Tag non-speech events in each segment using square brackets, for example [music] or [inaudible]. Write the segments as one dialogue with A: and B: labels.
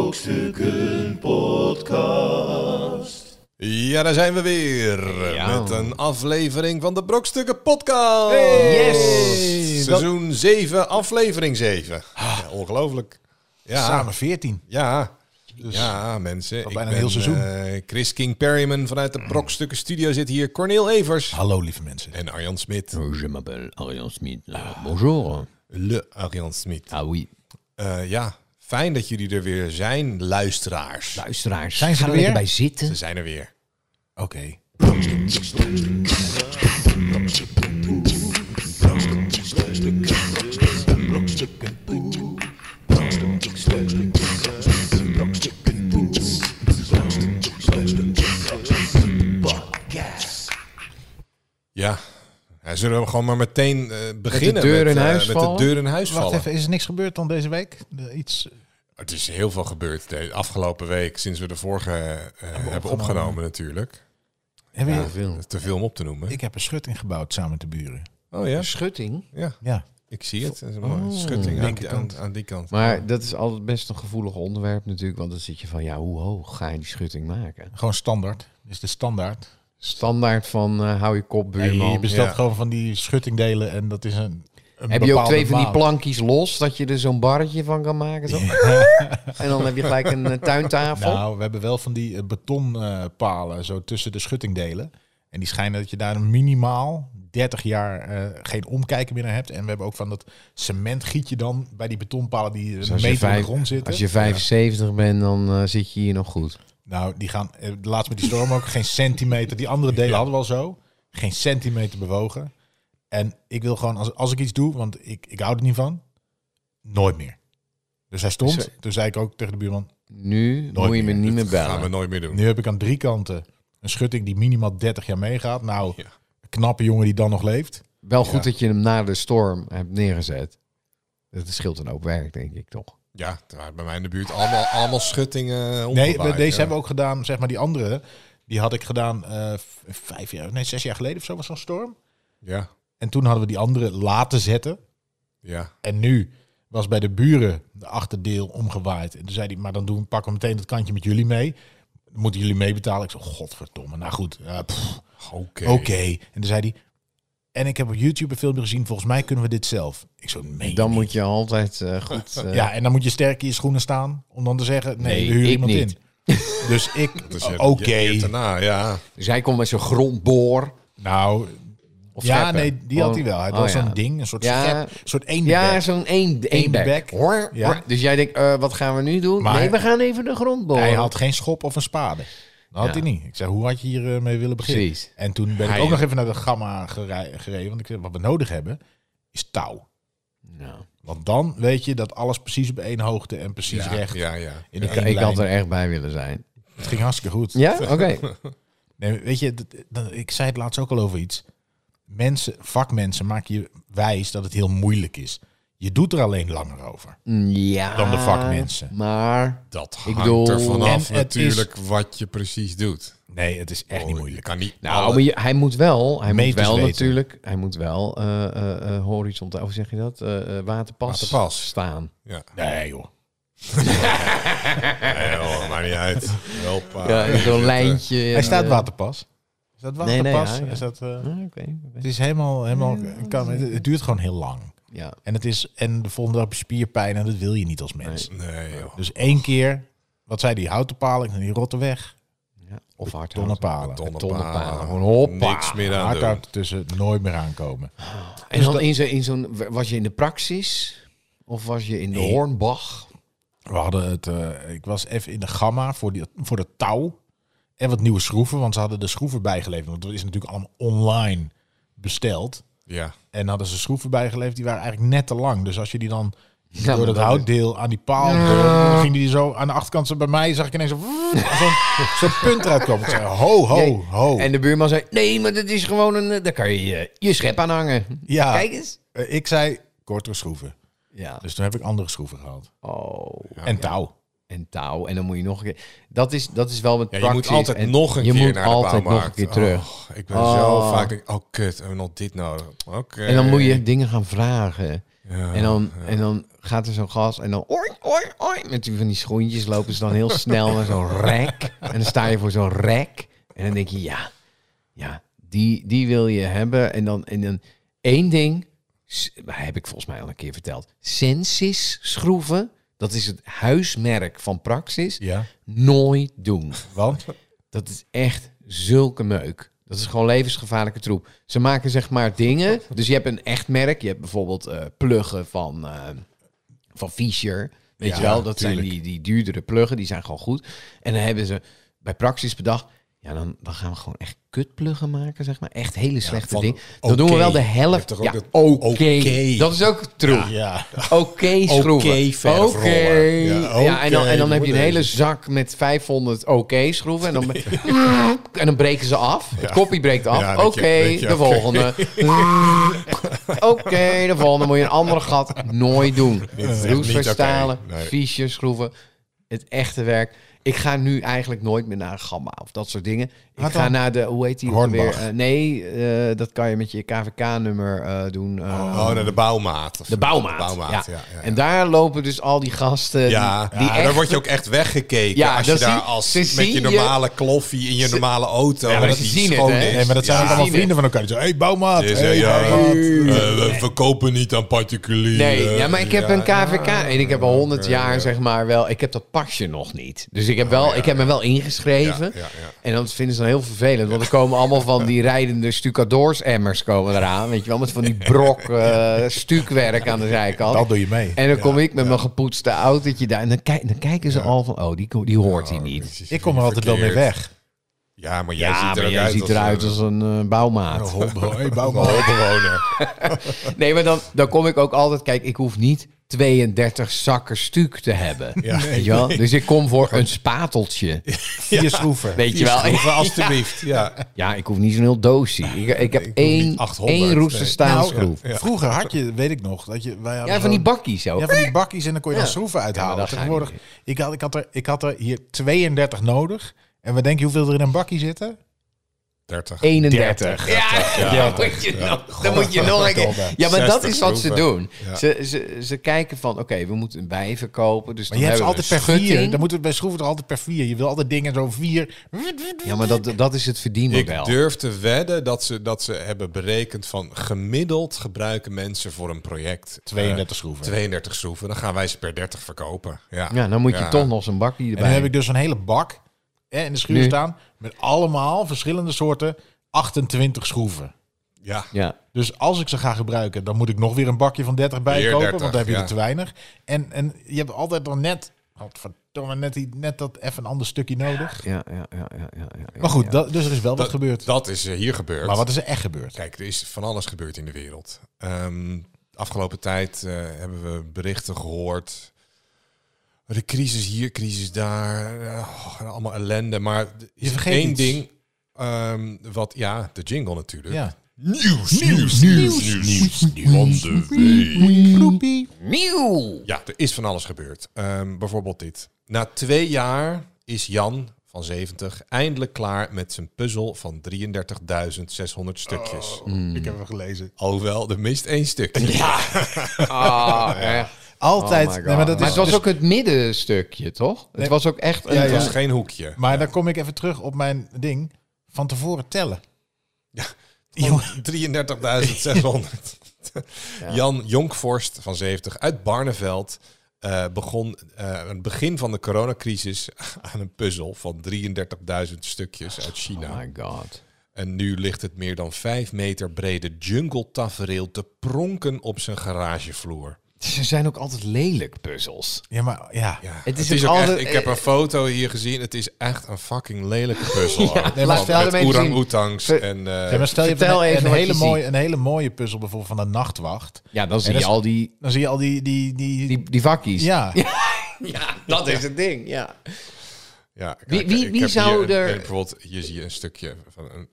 A: Brokstukken Podcast.
B: Ja, daar zijn we weer
C: Ja.
B: met een aflevering van de Brokstukken Podcast.
C: Yes! Ah.
B: Seizoen 7, aflevering 7. Ja, ongelooflijk. Ja,
C: Samen 14.
B: Ja, ja mensen. Ik
C: bijna
B: ben,
C: een heel seizoen.
B: eh, Chris King Perryman vanuit de Brokstukken Studio zit hier. Cornel Evers
C: Hallo lieve mensen.
B: en Arjan Smit.
D: Oh, Je m'appelle Ariane Smit. Nou, bonjour.
B: Le Arjan Smit.
D: Ah oui,
B: Eh, ja, fijn dat jullie er weer zijn, luisteraars.
D: luisteraars.
C: Zijn ze
D: ga
C: er
D: er lekker
C: weer?
D: bij zitten.
B: Ze zijn er weer.
C: Oké.
B: Ja. Ja, zullen we gewoon maar meteen eh, beginnen
D: deur in
B: eh,
D: huis
B: met
D: vallen?
B: de deur in huis
C: Wacht
B: vallen.
C: even, is er niks gebeurd dan deze week? De- iets...
B: Het is heel veel gebeurd de afgelopen week sinds we de vorige eh, hebben, opgenomen. natuurlijk.
C: Hebben
D: Ja,
C: jullie-
D: veel.
B: Te veel om op te noemen.
C: Ik heb een schutting gebouwd samen met de buren.
B: oh ja,
D: Schutting.
B: ja,
C: Ja.
B: ik zie het. Dat is een mooie
C: Oh.
B: schutting aan, die- aan, aan die kant.
D: Maar dat is altijd best een gevoelig onderwerp natuurlijk. Want dan zit je van, ja, hoe hoog ga je die schutting maken?
C: Gewoon standaard. Dus de standaard.
D: Standaard van, eh, hou je kop, buurman.
C: je bestelt
B: ja.
C: gewoon van die schuttingdelen en dat is een, een
D: heb je ook
C: bepaalde
D: twee van die
C: maat.
D: plankjes los, dat je er zo'n barretje van kan maken? Zo. [laughs] En dan heb je gelijk een eh, tuintafel.
C: Nou, we hebben wel van die betonpalen zo tussen de schuttingdelen. En die schijnen dat je daar minimaal 30 jaar eh, geen omkijken meer naar hebt. En we hebben ook van dat cement giet je dan bij die betonpalen die een
D: Dus als
C: meter
D: je
C: in de
D: vijf-
C: grond zitten.
D: Als je 75 bent, dan eh, zit je hier nog goed.
C: Nou, die gaan eh, laatst met die storm ook geen centimeter. Die andere delen hadden we al zo. Geen centimeter bewogen. En ik wil gewoon, als, als ik iets doe, want ik, ik hou er niet van, nooit meer. Dus hij stond.
D: Zo.
C: Toen zei ik ook tegen de buurman,
D: Nu moet je me
C: meer.
D: niet meer
B: Dat gaan we
D: bellen.
B: nooit meer doen.
C: nu heb ik aan drie kanten een schutting die minimaal 30 jaar meegaat. Nou,
B: Ja.
C: een knappe jongen die dan nog leeft.
D: Wel
C: Ja.
D: goed dat je hem na de storm hebt neergezet. Dat scheelt een hoop werk, denk ik toch.
B: Ja, er waren bij mij in de buurt allemaal, allemaal schuttingen eh,
C: Nee, we- deze hebben we ook gedaan, zeg maar die andere. Die had ik gedaan eh, v- vijf jaar, nee, zes jaar geleden of zo was zo'n storm.
B: Ja,
C: En toen hadden we die andere laten zetten.
B: ja.
C: En nu was bij de buren de achterdeel omgewaaid. En toen zei hij, maar dan doen, pakken we meteen dat kantje met jullie mee. Dan moeten jullie meebetalen? Ik zei, godverdomme. Nou goed, eh, pff,
B: Oké.
C: oké. En toen zei hij, en ik heb op YouTube een filmpje gezien, volgens mij kunnen we dit zelf. Ik zo, nee.
D: Dan moet je altijd eh,
C: [laughs]
D: goed. eh,
C: Ja, en dan moet je sterk in je schoenen staan om dan te zeggen, nee,
D: Nee,
C: we huren
D: ik
C: iemand
D: niet.
C: in. [laughs] Dus ik,
B: Dus je
C: oké.
B: hebt- je- je hebt daarna, ja.
D: Dus hij komt met zo'n grondboor.
C: Nou,
D: Of
C: ja,
D: scheppen.
C: nee, die had hij wel. Hij had
D: Oh, ja.
C: zo'n ding, een soort
D: Ja.
C: schep, een soort eendenbek.
D: Ja, zo'n één, één
C: Eén
D: bek.
C: bek.
D: Hoor,
C: Ja.
D: hoor. Dus jij denkt, eh, wat gaan we nu doen?
C: Maar-
D: nee, we gaan even de grond boren.
C: Hij had geen schop of een spade. Dat had
D: Ja.
C: hij niet. Ik zei, hoe had je hier eh, mee willen beginnen?
D: Precies.
C: En toen ben
B: Hij-
C: ik ook nog even naar de gamma gerei- gereden. Want ik zei, wat we nodig hebben, is touw.
D: Nou,
C: Want dan weet je dat alles precies op één hoogte en precies
B: ja,
C: recht.
B: Ja, ja.
C: In die
D: ik,
C: één
D: ik had
C: lijn.
D: er echt bij willen zijn.
C: Het ging hartstikke goed.
D: Ja? Oké.
C: [laughs] Nee, weet je, dat- dat- ik zei het laatst ook al over iets. Mensen, vakmensen maken je wijs dat het heel moeilijk is. Je doet er alleen langer over.
D: Mm, Ja.
C: Dan de vakmensen.
D: Maar
B: Dat hangt
D: Ik bedoel-
B: er
C: En
B: vanaf
C: het
B: natuurlijk wat je precies doet.
C: Nee, het is echt niet
B: Oh, Je
C: moeilijk.
B: kan niet
D: Nou,
B: alle-
D: maar je- hij moet wel, hij moet
C: Meters
D: wel
C: weten.
D: natuurlijk, hij moet wel eh, eh, eh, horizontaal, hoe zeg je dat? Eh, eh, waterpas,
B: Waterpas. [laughs]
D: staan.
B: Ja.
C: Nee joh.
B: Nee, joh, maakt niet
C: [laughs]
B: uit. Help, eh,
D: Ja,
B: je zit,
D: zo'n
B: eh,
D: lijntje.
C: Hij staat waterpas. Is dat
D: Nee, nee,
C: waterpas?
D: ja, ja.
C: Is dat, eh,
D: Ah, oké.
C: het is helemaal... helemaal kan, het, het duurt gewoon heel lang.
D: Ja.
C: En, het is, en de volgende dag heb je spierpijn en dat wil je niet als mens.
B: Nee, joh.
C: Dus één keer, wat zei die houten palen, die rotte weg.
D: ja. Of hard
C: Tonnen palen.
D: Tonnenpalen.
B: Tonnenpalen.
D: Gewoon hoppa.
B: Niks meer aan doen.
C: Hardhout tussen nooit meer aankomen.
D: En dan in zo- in zo'n, was je in de praxis? Of was je in de
C: Nee.
D: Hornbach?
C: We hadden het, eh, ik was even in de gamma voor, die, voor dat touw. En wat nieuwe schroeven, want ze hadden de schroeven bijgeleverd. Want dat is natuurlijk allemaal online besteld.
B: Ja.
C: En hadden ze schroeven bijgeleverd, die waren eigenlijk net te lang. Dus als je die dan
D: Ja,
C: door
D: maar
C: dat
D: dat
C: houtdeel aan die paal... dan ging die zo aan de achterkant, zo bij mij zag ik ineens zo'n
D: [laughs]
C: zo'n punt eruit komen. Ik zei, ho, ho,
D: Nee.
C: ho.
D: En de buurman zei, nee, maar dat is gewoon een... eh, Daar kan je je, je schep aan hangen.
B: Ah.
C: Ja.
D: Kijk eens.
C: Eh, Ik zei kortere schroeven.
D: Ja.
C: Dus toen heb ik andere schroeven gehaald.
D: Oh.
C: en touw.
D: En touw. En dan moet je nog een keer... Dat is, dat is wel met
B: Ja, je
D: praxis.
B: moet altijd
D: en
B: nog een
D: je
B: keer
D: moet
B: naar
D: altijd
B: de bouwmarkt.
D: nog een keer terug.
B: Och, ik ben
D: Oh.
B: zo vaak denk, ik, oh kut, hebben we nog dit nodig? Oké.
D: En dan moet je dingen gaan vragen.
B: Ja,
D: En dan, en dan gaat er zo'n gas en dan ooi, ooi, ooi. Met die van die schoentjes lopen ze dan heel snel naar
B: [laughs]
D: zo'n rek. En dan sta je voor zo'n rek. En dan denk je, ja, ja die, die wil je hebben. En dan, en dan één ding, s- heb ik volgens mij al een keer verteld. Sensis schroeven, dat is het huismerk van Praxis.
C: Ja,
D: Nooit doen.
C: want
D: Dat is echt zulke meuk. Dat is gewoon levensgevaarlijke troep. Ze maken zeg maar dingen. Dus je hebt een echt merk. Je hebt bijvoorbeeld eh, pluggen van, eh, van Fischer. Weet
C: Ja,
D: je wel, dat zijn
C: tuurlijk.
D: die, die duurdere pluggen. Die zijn gewoon goed. En dan hebben ze bij Praxis bedacht... Ja, dan, dan gaan we gewoon echt kutpluggen maken, zeg maar. Echt hele slechte
B: van
D: dingen. Dan doen we
B: oké.
D: wel de
B: Je hebt
D: helft.
B: toch ook
D: Ja,
B: dat
D: oké.
B: oké.
D: Dat is ook troep.
C: ja,
D: Oké schroeven.
B: Oké verfroller.
D: Ja,
B: Ja,
D: en dan, en dan
B: oké,
D: heb je een
B: moet
D: hele zak met 500 oké schroeven. En
B: [laughs]
D: dan, en dan breken ze af. Het koppie breekt af.
B: Ja,
D: oké,
B: weet je- weet je,
D: de
B: oké. [laughs]
D: volgende. oké, de volgende. Moet je een andere gat nooit doen.
B: echt niet oké.
D: Roestverstalen,
B: Nee.
D: fiches, schroeven. Het echte werk. Ik ga nu eigenlijk nooit meer naar Gamma of dat soort dingen. Ik
C: Wat
D: ga
C: dan?
D: naar de, hoe heet die ook
C: Hornbach.
D: weer? Eh, nee, eh, dat kan je met je KVK-nummer doen. eh,
B: Oh, naar de bouwmaat. of-
D: de bouwmaat. ja.
B: ja, ja.
D: En daar lopen dus al die gasten.
B: Ja,
D: die,
B: die
D: die echt-
B: daar word je ook echt weggekeken.
D: Ja,
B: als je
D: dat
B: daar
D: zie-
B: als
D: ze
B: met
D: zien je-
B: je normale kloffie in je normale auto.
D: maar
B: dat
D: ze
B: die
D: zien het,
B: schoon
D: hè?
B: is.
C: nee, maar dat zijn
B: Ja.
C: ook allemaal
D: Zien het.
C: vrienden van elkaar. Die zeggen, hey bouwmaat,
B: Ze
C: hey,
B: zeggen, ja,
C: bouwmaat.
B: eh, we verkopen niet aan particulieren.
D: Nee, ja, maar ik heb
B: eh, Ja,
D: een KVK en ik heb al 100
B: ja,
D: jaar,
B: ja. Oh,
D: zeg maar, wel. Ik heb dat pasje nog niet. Dus ik heb, wel,
B: ja,
D: ik heb me wel ingeschreven.
B: Ja, ja, ja.
D: En dat vinden ze dan heel vervelend, want er komen allemaal
B: [laughs]
D: van die rijdende stucadoors-emmers komen eraan. Weet je wel, met van die
B: [laughs]
D: brok eh, stuukwerk aan de zijkant.
C: Dat doe je mee.
D: en dan kom ik met mijn gepoetste autootje daar. En dan, kijk, dan kijken ze al van, oh, die, ko- die hoort hier niet.
C: Ik kom er altijd wel mee
B: Verkeerd.
C: weg.
B: Ja, maar jij
D: Ja,
B: ziet er
D: maar
B: ook
D: jij
B: uit
D: ziet eruit
B: een-
D: als een eh,
B: [laughs]
D: bouwmaat.
C: Hey,
B: een
C: bouwmaat.
B: hulpbewoner.
D: Nee, maar dan, dan kom ik ook altijd... Kijk, ik hoef niet 32 zakken stuk te hebben.
C: [laughs]
D: weet je wel? Dus ik kom voor een spateltje.
C: Vier schroeven.
D: Weet je
C: [laughs]
D: wel?
B: Schroeven, alstublieft. Ja.
D: Ja, ik hoef niet zo'n heel doosie. Ik, ik heb één,
B: niet 800,
D: één roeste
B: nee.
D: staalschroef.
C: Nou, vroeger had je, weet ik nog, dat je... Wij hadden
D: Ja, van die
C: zo'n-
D: bakkies ook.
C: Ja, van
D: [laughs]
C: die bakjes en dan kon je dan
D: Ja.
C: schroeven uithalen.
D: Ja, maar dat ga je
C: Tegenwoordig,
D: niet
C: ik, had, ik, had er, ik had er hier 32 nodig. En we denken hoeveel er in een bakje zitten?
B: 30.
D: 31. [laughs] Ja,
B: ja.
D: dan moet je nog, dan moet je nog een keer. Ja, maar dat
B: 60
D: is wat ze
B: schroeven.
D: doen.
B: Ja.
D: Ze, ze, ze kijken van, oké, we moeten een bij verkopen. Dus
C: Maar
D: dan
C: je hebt ze
D: hebben
C: altijd
D: we
C: per
D: een schutting.
C: vier. Dan moeten we bij schroeven er altijd per vier. Je wil altijd dingen zo vier.
D: Ja, maar dat, dat is het
B: Ik
D: verdienmodel.
B: durf te wedden dat ze, dat ze hebben berekend van gemiddeld gebruiken mensen voor een project
C: 32
B: eh,
C: schroeven.
B: 32 schroeven. Dan gaan wij ze per 30 verkopen. Ja,
D: Ja, dan moet je
B: Ja.
D: toch nog zo'n bakkie
C: En
D: erbij.
C: dan heb ik dus een hele bak hè, in de schuur
D: Nu.
C: staan. Met allemaal verschillende soorten 28 schroeven.
B: Ja.
D: Ja.
C: Dus als ik ze ga gebruiken, dan moet ik nog weer een bakje van 30 bij
B: Weer
C: kopen.
B: 30,
C: want dan heb je
B: ja.
C: er te weinig. En, en je hebt altijd dan net... Godverdomme, net, die- net dat even een ander stukje nodig.
D: Ja, ja, ja, ja, ja, ja, ja.
C: Maar goed, dat, dus er is wel wat gebeurd.
B: Dat is eh, hier gebeurd.
C: maar wat is er echt gebeurd?
B: Kijk, er is van alles gebeurd in de wereld. Ehm, afgelopen tijd eh, hebben we berichten gehoord. De crisis hier, crisis daar. eh, allemaal ellende. Maar er is
C: Je vergeet
B: één
C: iets.
B: ding. ehm, wat, ja, de jingle natuurlijk.
C: Ja.
B: Nieuws, nieuws, nieuws, nieuws, van de week.
D: Nieuw!
B: Ja, er is van alles gebeurd. Ehm, bijvoorbeeld dit. Na twee jaar is Jan van 70 eindelijk klaar met zijn puzzel van 33.600
D: Oh,
B: stukjes.
C: Ik heb hem gelezen.
B: Alhoewel, er mist één stukje.
D: Ah, echt.
C: Altijd.
D: Oh my
C: nee, maar
D: God.
C: dat
D: Maar
C: is
D: het was
C: dus-
D: ook het middenstukje, toch? Het was ook echt... een-
C: Ja,
B: Het was
C: ja.
B: geen hoekje.
C: maar dan kom ik even terug op mijn ding. Van tevoren tellen.
B: Gewoon 33.600. Jan Jonkvorst van 70 uit Barneveld eh, begon eh, aan het begin van de coronacrisis [laughs] aan een puzzel van 33.000 stukjes uit China.
D: Oh my god.
B: En nu ligt het meer dan vijf meter brede jungle-tafereel te pronken op zijn garagevloer.
D: Ze zijn ook altijd lelijk puzzels.
C: Ja, maar ja.
B: Ja,
D: Het
B: het
D: is
B: is,
D: een
B: ook
D: alle-
B: echt, ik heb een foto hier gezien. Het is echt een fucking
D: [laughs]
B: lelijke puzzel. ook.
D: maar
B: Want
D: stel de
B: met
D: mensen zien-
B: orang-oetangs
D: Ver-
B: en... eh,
C: Ja, maar stel je
D: vertel
C: hebt een,
D: even
C: een
D: wat
C: hele
D: je
C: mooie, een hele mooie puzzel bijvoorbeeld van de nachtwacht.
D: Ja, dan zie
C: dat
D: je
C: is-
D: al die,
C: Dan zie je al die... die, die,
D: die, die vakkies.
C: ja.
D: Ja, dat is het ding, ja.
B: ja, kijk,
D: Wie- wie-
B: ik
D: wie
B: heb
D: zou
B: hier een-
D: er-
B: eh, bijvoorbeeld, hier zie je een stukje van een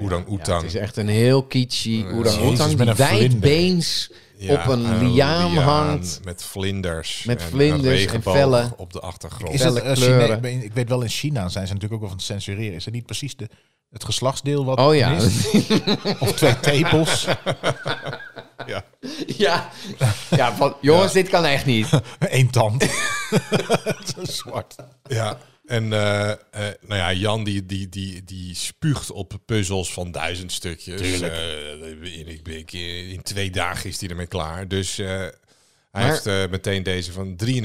B: orang-oetang.
D: Oh het is echt een heel kitschy
C: Jezus,
D: orang
C: met
D: die
C: een vlinder.
D: wijdbeens
B: Ja,
D: op een liaam hangt.
B: Met vlinders.
D: Met
B: en een
D: vlinders en
B: regenboog
D: vellen.
B: op de achtergrond.
C: Is het,
D: Felle
C: eh,
D: kleuren.
C: Chine- ik weet wel, in China zijn ze natuurlijk ook wel van het censureren. Is het niet precies de,
B: Oh
C: het geslachtsdeel wat
D: Oh ja,
B: [laughs]
C: mist? Of twee tepels?
B: Ja.
D: [laughs] Ja, ja van, jongens, dit kan echt niet.
C: Eén tand. [laughs] Zo zwart.
B: Ja, en eh, eh, nou ja, Jan die, die, die, die spuugt op puzzels van duizend stukjes.
C: Tuurlijk.
B: Eh, in, ik- ik- eh, in twee dagen is hij ermee klaar. Dus eh, hij
D: Maar-
B: heeft eh, meteen deze van 33.000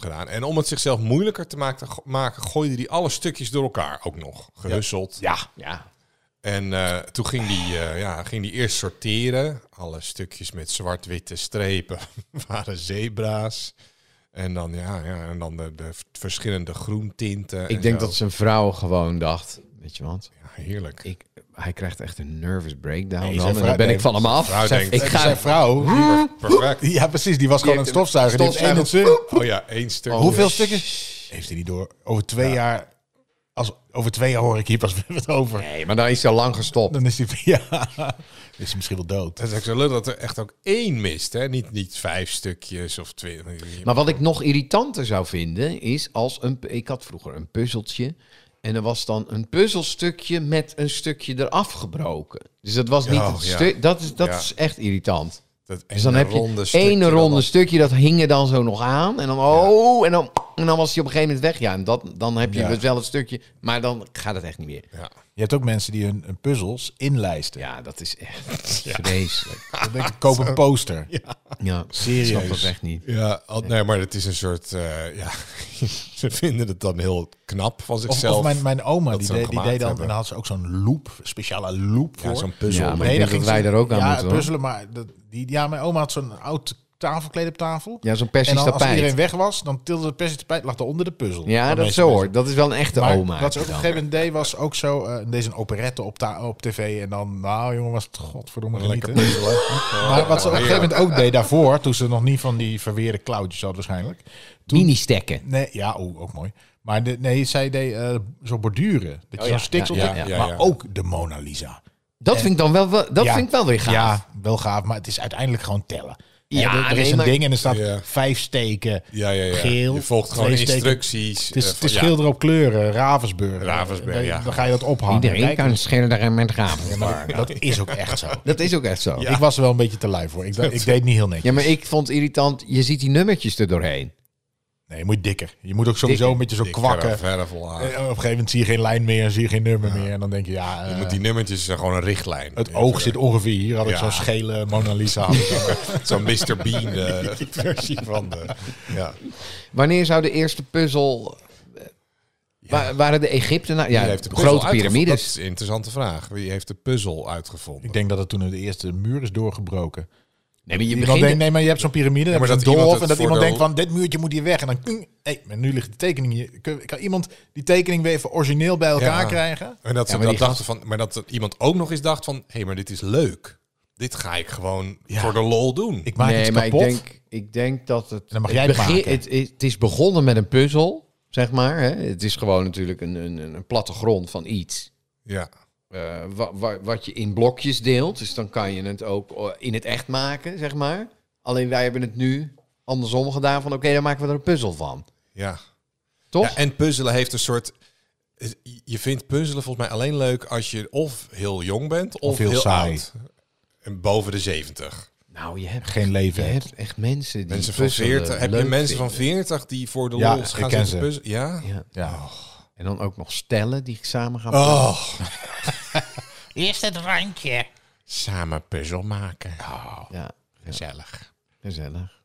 B: gedaan. En om het zichzelf moeilijker te maken, go- maken gooide hij alle stukjes door elkaar ook nog. Gehusseld.
C: Ja.
D: Ja,
B: En eh, toen ging hij eh, ja, ging die eerst sorteren. Alle stukjes met zwart-witte strepen [laughs] waren zebra's. En dan, ja, ja, en dan de, de verschillende groentinten.
D: ik
B: en
D: denk
B: zo.
D: dat zijn vrouw gewoon dacht, weet je wat,
B: Ja, heerlijk.
D: ik, hij krijgt echt een nervous breakdown
C: Nee,
D: dan
C: zijn
D: en
C: vrouw-
D: dan ben
C: nee,
D: ik van hem af.
B: vrouw denkt,
D: Ik
C: En
D: ga-
C: Zijn vrouw...
B: Ah. perfect.
C: Ja, precies. Die was gewoon
D: Die
C: een
D: heeft
C: stofzuiger. Die heeft één
D: stofzuiger.
C: en twee-
B: Oh ja, één stuk.
C: Hoeveel
B: Ja.
C: stukken? Heeft hij niet door. Over twee jaar... Als, over twee jaar hoor ik hier pas weer wat over.
D: Nee, maar dan is hij al lang gestopt.
C: Dan is hij... [laughs] Ja. Is hij misschien wel dood.
B: Het is ook zo leuk dat er echt ook één mist, hè? Niet, niet vijf stukjes of twee.
D: Maar wat ik nog irritanter zou vinden is als een. Ik had vroeger een puzzeltje. En er was dan een puzzelstukje met een stukje eraf gebroken. Dus dat was niet
B: Oh,
D: het
B: ja.
D: stuk. Dat, is, dat
B: Ja.
D: is echt irritant.
B: dat
D: Dus dan
B: ene
D: heb
B: ronde
D: je
B: stukje
D: één
B: dan
D: ronde
B: al-
D: stukje, dat hing er dan zo nog aan. En dan, oh, en dan, en dan was hij op een gegeven moment weg. Ja, en dat, dan heb je
C: Ja.
D: dus wel het stukje, maar dan gaat het echt niet meer.
B: Ja.
C: Je hebt ook mensen die hun, hun puzzels inlijsten.
D: Ja, dat
C: [laughs]
D: is echt vreselijk.
C: Dan denk ik, koop een poster.
D: Ja, serieus.
C: Serieus.
D: Ik snap dat echt niet.
B: Ja, al- nee, maar het is een soort. eh, ja, [laughs] ze vinden het dan heel knap van
C: Of,
B: zichzelf.
C: of mijn, mijn oma,
B: dat
C: die
B: ze
C: deed,
B: hem
C: die deed
B: gemaakt
C: dan...
B: hebben.
C: En dan had ze ook zo'n loop, speciale loop
B: ja,
C: voor.
B: zo'n puzzel.
D: Ja, maar-
B: met-
D: ik denk
C: dan
D: dat
C: ging
D: wij
C: ze-
D: er ook aan
C: ja,
D: moeten, hoor.
C: puzzelen, maar dat, die, ja, mijn oma had zo'n oud tafelkleed op tafel.
D: Ja, zo'n
C: en
D: persisch
C: dan, als iedereen
D: tapijt.
C: weg was, dan tilde het persisch tapijt, lag er onder de puzzel.
D: Ja,
C: Waarmee
D: dat
C: ze
D: zo
C: bezig
D: hoor. Dat is wel een echte
C: maar
D: oma.
C: Wat ze ook op een
D: dan.
C: gegeven moment deed, was ook zo. eh deze een operette op, ta- op tv. En dan, nou jongen, was het godverdomme
B: Lekker
C: genieten. maar wat ze op een gegeven moment ook deed daarvoor, toen ze nog niet van die verweerde klauwtjes had waarschijnlijk.
D: Mini-stekken.
C: Nee, ja, oh, ook mooi. Maar de, nee, zij deed eh, zo borduren. Dat je
D: Oh ja,
C: zo'n stiksel
D: ja,
C: op-
B: ja, ja,
C: Maar
B: ja.
C: ook de Mona Lisa.
D: Dat vind ik dan wel, wel- dat
C: Ja.
D: vind ik wel weer gaaf.
C: Ja, wel gaaf, maar het is uiteindelijk gewoon tellen. Hè,
D: Ja,
C: er- er
D: nee,
C: is een
D: maar-
C: ding en er staat
B: Ja.
C: vijf steken.
B: ja, ja, ja.
C: Geel,
B: je volgt gewoon
C: twee steken.
B: instructies.
C: Het is,
B: eh,
C: het is
B: van-
C: schilderen op kleuren, Ravensburg.
B: Ravensburg,
C: dan,
B: ja.
C: Dan ga je dat ophangen.
D: Iedereen
C: Kijk,
D: kan schilderen met gaven.
C: maar dat is ook
B: [laughs]
C: echt zo.
D: Dat is ook echt zo. Ja.
C: Ik was er wel een beetje te lui voor. Ik, dacht- ik deed niet heel netjes.
D: maar ik vond het irritant. Je ziet die nummertjes er doorheen.
C: Nee, je moet dikker. Je moet ook sowieso
D: Dikker.
C: een beetje zo
B: Ik
C: kwakken.
B: verf- verf laag.
C: Eh, Op een gegeven moment zie je geen lijn meer, zie je geen nummer meer. En dan denk je, ja, eh,
B: Je moet die nummertjes zijn gewoon een richtlijn. eh,
C: het oog zit ongeveer hier. Had ik
B: Ja.
C: zo'n schele Mona Lisa.
B: [laughs]
C: had ik ook.
B: Zo'n Mr.
C: [laughs]
B: Bean eh, versie van de. Ja.
D: Wanneer zou de eerste puzzel... eh, wa- waren de Egyptenaren... Ja,
B: Wie heeft de puzzel
D: grote
B: uitgevonden? Dat is
D: piramides.
B: een interessante vraag. Wie heeft de puzzel uitgevonden?
C: ik denk dat het toen de eerste muur is doorgebroken.
D: Nee, maar je
C: Iemand
D: begint...
C: denkt, nee, maar je hebt zo'n piramide,
B: maar
C: maar dat
B: dat iemand
C: doolhof,
B: het
C: en dat
B: voor
C: iemand
B: de-
C: denkt van, dit muurtje moet hier weg. En dan, ping, hé, maar nu ligt de tekening hier. Kun- Kan iemand die tekening weer even origineel bij elkaar
B: Ja.
C: krijgen?
B: En dat ze
D: Ja, maar
B: dat
D: die
B: dachten van, maar dat er iemand ook nog eens dacht van, hé, maar dit is leuk. Dit ga ik gewoon voor de lol doen.
C: Ik maak iets
D: nee, maar
C: kapot.
D: ik denk, ik denk dat het...
C: dan mag jij het
D: begin-
C: maken.
D: Het, het is begonnen met een puzzel, zeg maar. Hè. Het is gewoon natuurlijk een, een, een een plattegrond van iets.
B: Ja.
D: eh, wa- wa- wat je in blokjes deelt. Dus dan kan je het ook eh, in het echt maken, zeg maar. Alleen wij hebben het nu andersom gedaan van... oké, dan maken we er een puzzel van.
B: Ja.
D: Toch?
B: ja. En puzzelen heeft een soort... Je vindt puzzelen volgens mij alleen leuk als je of heel jong bent of,
C: Of heel
B: heel,
C: saai.
B: oud. En boven de 70.
D: nou, je hebt,
C: Geen leven
D: je
C: hebt.
D: hebt echt mensen die
B: Mensen van
D: puzzelen
B: 40. Heb je
D: leuk
B: mensen van
D: vinden.
B: 40 die voor de
C: Ja,
B: lol
C: ik
B: gaan
C: ken
B: zitten
C: ze.
B: puzzelen? Ja.
D: Ja.
C: Ja.
D: En dan ook nog stellen die samen gaan...
B: Oh.
A: [laughs] Eerst het randje.
B: Samen puzzel maken. Oh,
D: Ja,
B: Gezellig.
D: gezellig.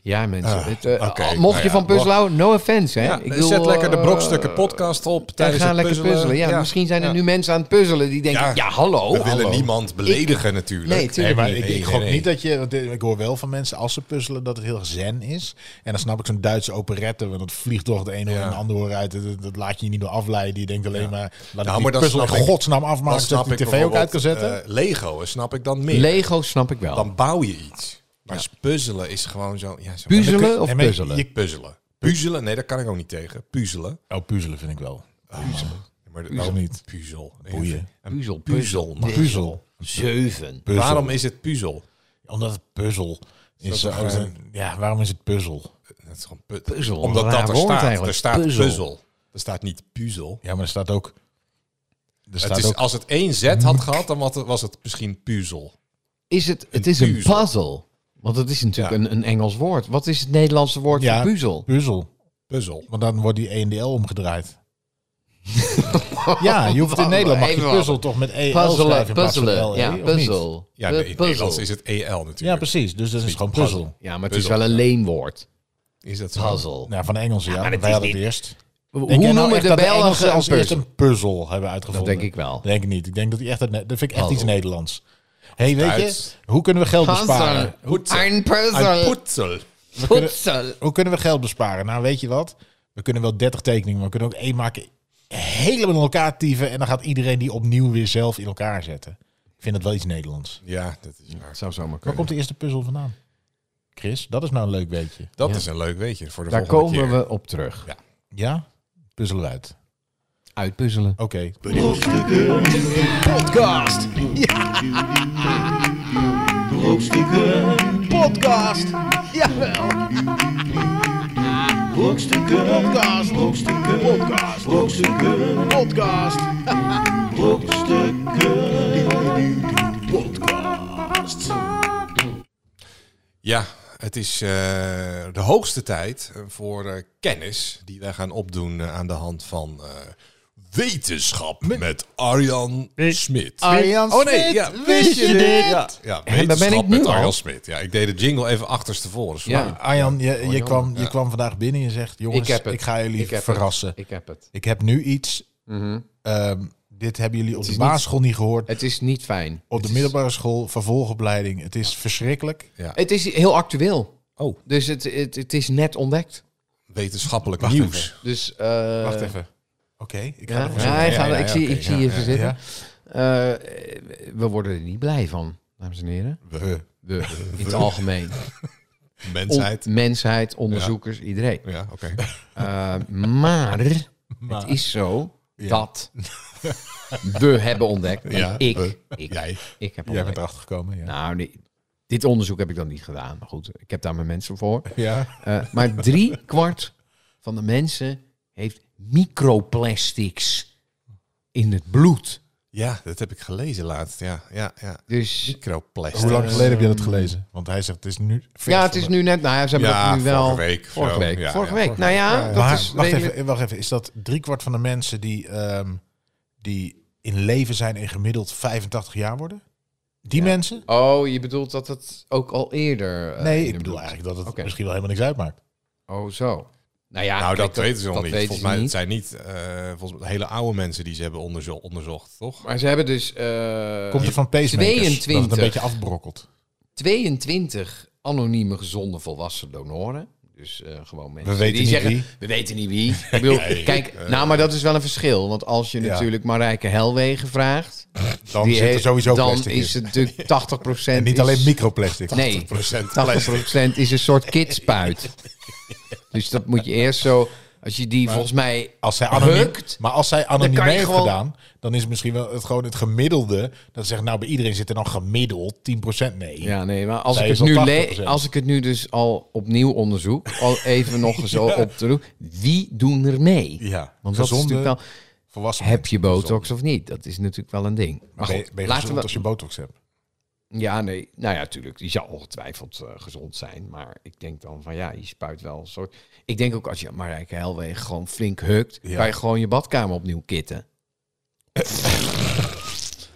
D: Ja, mensen.
B: Ah,
D: het, eh,
B: oké,
D: al-
B: nou
D: mocht je
B: ja,
D: van puzzelen houden, no offense. Hè?
B: Ja,
D: Ik
B: zet
D: bedoel,
B: lekker de
D: eh,
B: brokstukken podcast op
D: En
B: tijdens
D: ga
B: het
D: lekker puzzelen. Ja, Misschien zijn er
B: Ja.
D: nu mensen aan het puzzelen die denken...
B: Ja.
D: Ja, hallo.
B: We willen
D: hallo.
B: niemand beledigen natuurlijk.
D: Nee,
C: Nee,
D: tuurlijk
C: maar
D: niet.
C: ik,
B: Nee,
C: ik
B: nee,
C: gok
B: nee.
C: niet dat je... want eh, Ik hoor wel van mensen als ze puzzelen dat het heel zen is. En dan snap ik zo'n Duitse operette. Want dat vliegt toch de ene oor
B: Ja. Nou,
C: en de andere oor uit. Dat, dat laat je je niet door afleiden. Je denkt alleen maar... Laat
B: maar
C: ik die
B: dan
C: puzzel in
B: snap ik-
C: godsnaam
B: Dan
C: afmaken. Zodat
B: snap
C: ik de
B: ik
C: tv ook uit kan
B: bijvoorbeeld,
C: zetten.
B: eh, Lego snap ik dan meer.
D: Lego snap ik wel.
B: dan bouw je iets. Maar puzzelen is gewoon zo... Ja, zo
D: Puzzelen
C: Nee,
D: of
C: maar je-
D: puzzelen?
C: je-
B: Puzzelen. Puzzelen? Nee, daar kan ik ook niet tegen. Puzzelen.
C: oh, puzzelen vind ik wel.
B: Oh, Maar de-
C: Puzzel niet.
B: Puzzel.
C: Boeien.
B: Een
D: Puzzel,
B: puzzel. man.
C: Puzzel.
D: Zeven.
C: Puzzel.
B: Waarom is het puzzel?
C: Omdat het puzzel is.
B: dat
C: eh,
B: toch, eh,
C: ja, waarom is het puzzel?
B: Dat is gewoon pu-
D: Puzzel,
B: Omdat
D: een
B: dat
D: raar
B: er
D: woord
B: staat.
D: eigenlijk.
B: Er staat puzzel.
D: Puzzel.
B: Er staat niet puzzel.
C: Ja, maar er staat ook. Er staat
B: Het is,
C: ook
D: Hm.
B: als het één Z had gehad, dan wat- was het misschien puzzel.
D: is het, het
B: Een
D: is een
B: puzzel.
D: puzzle. Want het is natuurlijk
B: Ja.
D: een, een Engels woord. Wat is het Nederlandse woord
C: Ja.
D: voor puzzel?
C: Puzzel.
B: Puzzel.
C: Want dan wordt die E en die L
D: [laughs]
C: omgedraaid. ja, je hoeft in Nederland mag je
D: Even
C: puzzel toch met E en L schrijven
D: Puzzelen,
C: in plaats van
D: puzzelen.
C: LE,
D: Ja,
C: of niet?
D: puzzel.
B: Ja,
D: Pu-
B: nee, in het Nederlands is het EL natuurlijk.
C: Ja, precies. Dus dat is gewoon
B: puzzel.
C: puzzel.
D: Ja, maar het is
B: Puzzel.
D: wel een leenwoord.
B: Is dat zo?
D: Puzzle.
C: Ja, Nou, van de Engelsen, ja.
D: maar dat
C: Wij
D: is
C: hadden
D: niet-
C: het eerst.
D: Hoe
C: Denk jij nou
D: noemen
C: echt
D: de
C: dat Engelsen
D: Belgen
C: als
D: als
C: eerst
D: puzzel?
C: een puzzel hebben uitgevonden?
D: denk ik wel.
C: Denk ik niet. Ik denk dat die echt... uit Ne- Dat vind ik echt
D: Puzzle.
C: iets Nederlands. Hé, hey, weet
B: Duits.
C: je, hoe kunnen we geld besparen?
D: Puzzle.
C: Hoe,
D: Een
B: Een
D: puzzel.
B: putzel.
D: Puzzel.
C: hoe kunnen we geld besparen? Nou, weet je wat? We kunnen wel 30 tekeningen, maar we kunnen ook één maken. Helemaal in elkaar tieven. En dan gaat iedereen die opnieuw weer zelf in elkaar zetten. Ik vind dat wel iets Nederlands.
B: Ja, dat is waar.
D: Zou zomaar
C: Waar
D: kunnen.
C: komt de eerste puzzel vandaan? Chris, dat is nou een leuk beetje.
B: Dat
D: Ja.
B: is een leuk weetje voor de
D: Daar
B: volgende
D: komen
B: keer.
D: we op terug.
C: Ja? Puzzelen uit.
D: Uitpuzzelen.
C: Oké.
B: Ja, het is eh, de hoogste tijd voor eh, kennis die wij gaan opdoen eh, aan de hand van eh, wetenschap met, Arjan Smit.
C: Arjan
B: oh nee,
C: Smit,
B: ja,
C: wist je dit?
B: Ja, ja
D: ben
B: wetenschap
D: ik nu
B: met
D: al.
B: Arjan Smit. Ja, ik deed de jingle even achterstevoren. sorry.
D: Ja.
C: Arjan, je, je,
D: Arjan,
C: kwam, je
B: ja.
C: kwam vandaag binnen en je zegt... Jongens,
D: Ik
C: ik,
D: heb het.
C: ga jullie
D: Ik heb het.
C: verrassen.
D: Ik heb het.
C: Ik heb nu iets...
D: Mhm.
C: ehm, dit hebben jullie op
D: Het
C: de
D: is niet-
C: basisschool niet gehoord.
D: Het is niet fijn.
C: Op de middelbare school, vervolgopleiding. Het is verschrikkelijk.
D: Het is heel actueel.
B: Oh,
D: Dus het, het, het is net ontdekt.
B: wetenschappelijk
C: Wacht
B: nieuws.
C: even.
D: Dus, eh,
C: Wacht even. Oké, ik ga
D: Ja,
C: ervoor
D: ja, hij
B: ja,
D: gaat-
B: ja,
D: ik
B: ja,
D: zie,
B: oké,
D: ik zie
B: ja,
D: je
B: ja,
D: verzitten.
C: ja.
D: Eh, we worden er niet blij van, dames en heren.
B: We,
D: We, in het algemeen.
B: [laughs]
D: On-
B: mensheid.
D: mensheid, onderzoekers, iedereen.
B: Ja, oké.
D: Eh, maar het
C: Maar-
D: is zo dat we hebben ontdekt. en
B: Ja,
D: ik,
B: we.
D: ik,
B: Jij.
D: ik heb
C: Jij
D: ontdekt.
C: bent erachter gekomen, ja.
D: Nou, nee, dit onderzoek heb ik dan niet gedaan. Maar goed, ik heb daar mijn mensen voor.
C: ja.
D: Eh, maar drie kwart van de mensen heeft microplastics in het bloed.
B: Ja, dat heb ik gelezen laatst. Ja, ja, ja.
D: Dus ehm,
B: Microplastic.
C: Hoe lang geleden heb je dat gelezen? Want hij zegt, het is nu... vers
D: ja, het is
C: van
D: nu net. Nou ja, ze hebben
B: Ja,
D: dat nu wel.
B: vorige week of
D: Vorige
B: zo.
D: week.
B: Ja,
D: vorige
B: ja,
D: week. nou ja, dat
C: maar
D: is.
C: wacht,
D: redelijk-
C: even, wacht even, is dat driekwart van de mensen die, ehm, die in leven zijn en gemiddeld 85 jaar worden? Die mensen?
D: Oh, je bedoelt dat het ook al eerder. eh, in
C: Nee,
D: het
C: ik bedoel
D: bloed-
C: eigenlijk dat het
D: Oké.
C: misschien wel helemaal niks uitmaakt.
D: Oh, zo. Nou ja,
B: nou,
D: kijk,
B: dat, weten ze nog
D: dat
B: niet.
D: weten
B: Volgens
D: ze
B: mij
D: niet.
B: het zijn niet eh, volgens mij hele oude mensen die ze hebben onderzo- onderzocht, toch?
D: Maar ze hebben dus eh,
C: Komt het van pacemakers? Dat het
D: 22.
C: een beetje afbrokkelt.
D: 22 anonieme gezonde volwassen donoren. Dus eh, gewoon mensen
C: weten
D: die
C: niet
D: zeggen,
C: wie. Eh.
D: we weten niet wie. Ik bedoel, kijk, nou, maar dat is wel een verschil. Want als je
C: Ja.
D: natuurlijk Marijke Helwegen vraagt...
C: Dan
D: die
C: zit er
D: heeft-
C: sowieso
D: Dan
C: plastic
D: is
C: in.
D: het
C: [laughs]
D: natuurlijk 80
C: En niet
D: is-
C: alleen microplastic.
D: Nee,
B: 80%
D: 80% is een soort kidspuit. dus dat moet je eerst zo... Als je die volgens mij...
C: Als zij anoniem,
D: Rukt.
C: maar als zij anoniem
D: Dan kan je
C: heeft
D: gewoon-
C: gedaan, dan is het misschien wel het, gewoon het gemiddelde. Dat ze zeggen, nou bij iedereen zit er dan gemiddeld 10%. Nee,
D: Ja, nee, maar als
C: Zij
D: ik, het
C: is
D: nu
C: al
D: le-
C: 80%.
D: als ik het nu dus al opnieuw onderzoek... al even nog eens
C: [laughs]
D: zo op te doen... Wie doen er mee?
C: ja.
D: Want dat is
C: gezonde
D: natuurlijk wel...
C: volwassen
D: Heb je
C: mensen.
D: botox of niet? Dat is natuurlijk wel een ding. Maar
C: Ben je,
D: goed,
C: ben je
D: laten
C: gezond
D: we...
C: als je botox hebt?
D: Ja, nee. Nou ja, natuurlijk. Die zou ongetwijfeld eh, gezond zijn. Maar ik denk dan van ja, je spuit wel een soort... Ik denk ook als je Marijke Helwegen gewoon flink hukt...
C: Ja.
D: kan je gewoon je badkamer opnieuw kitten.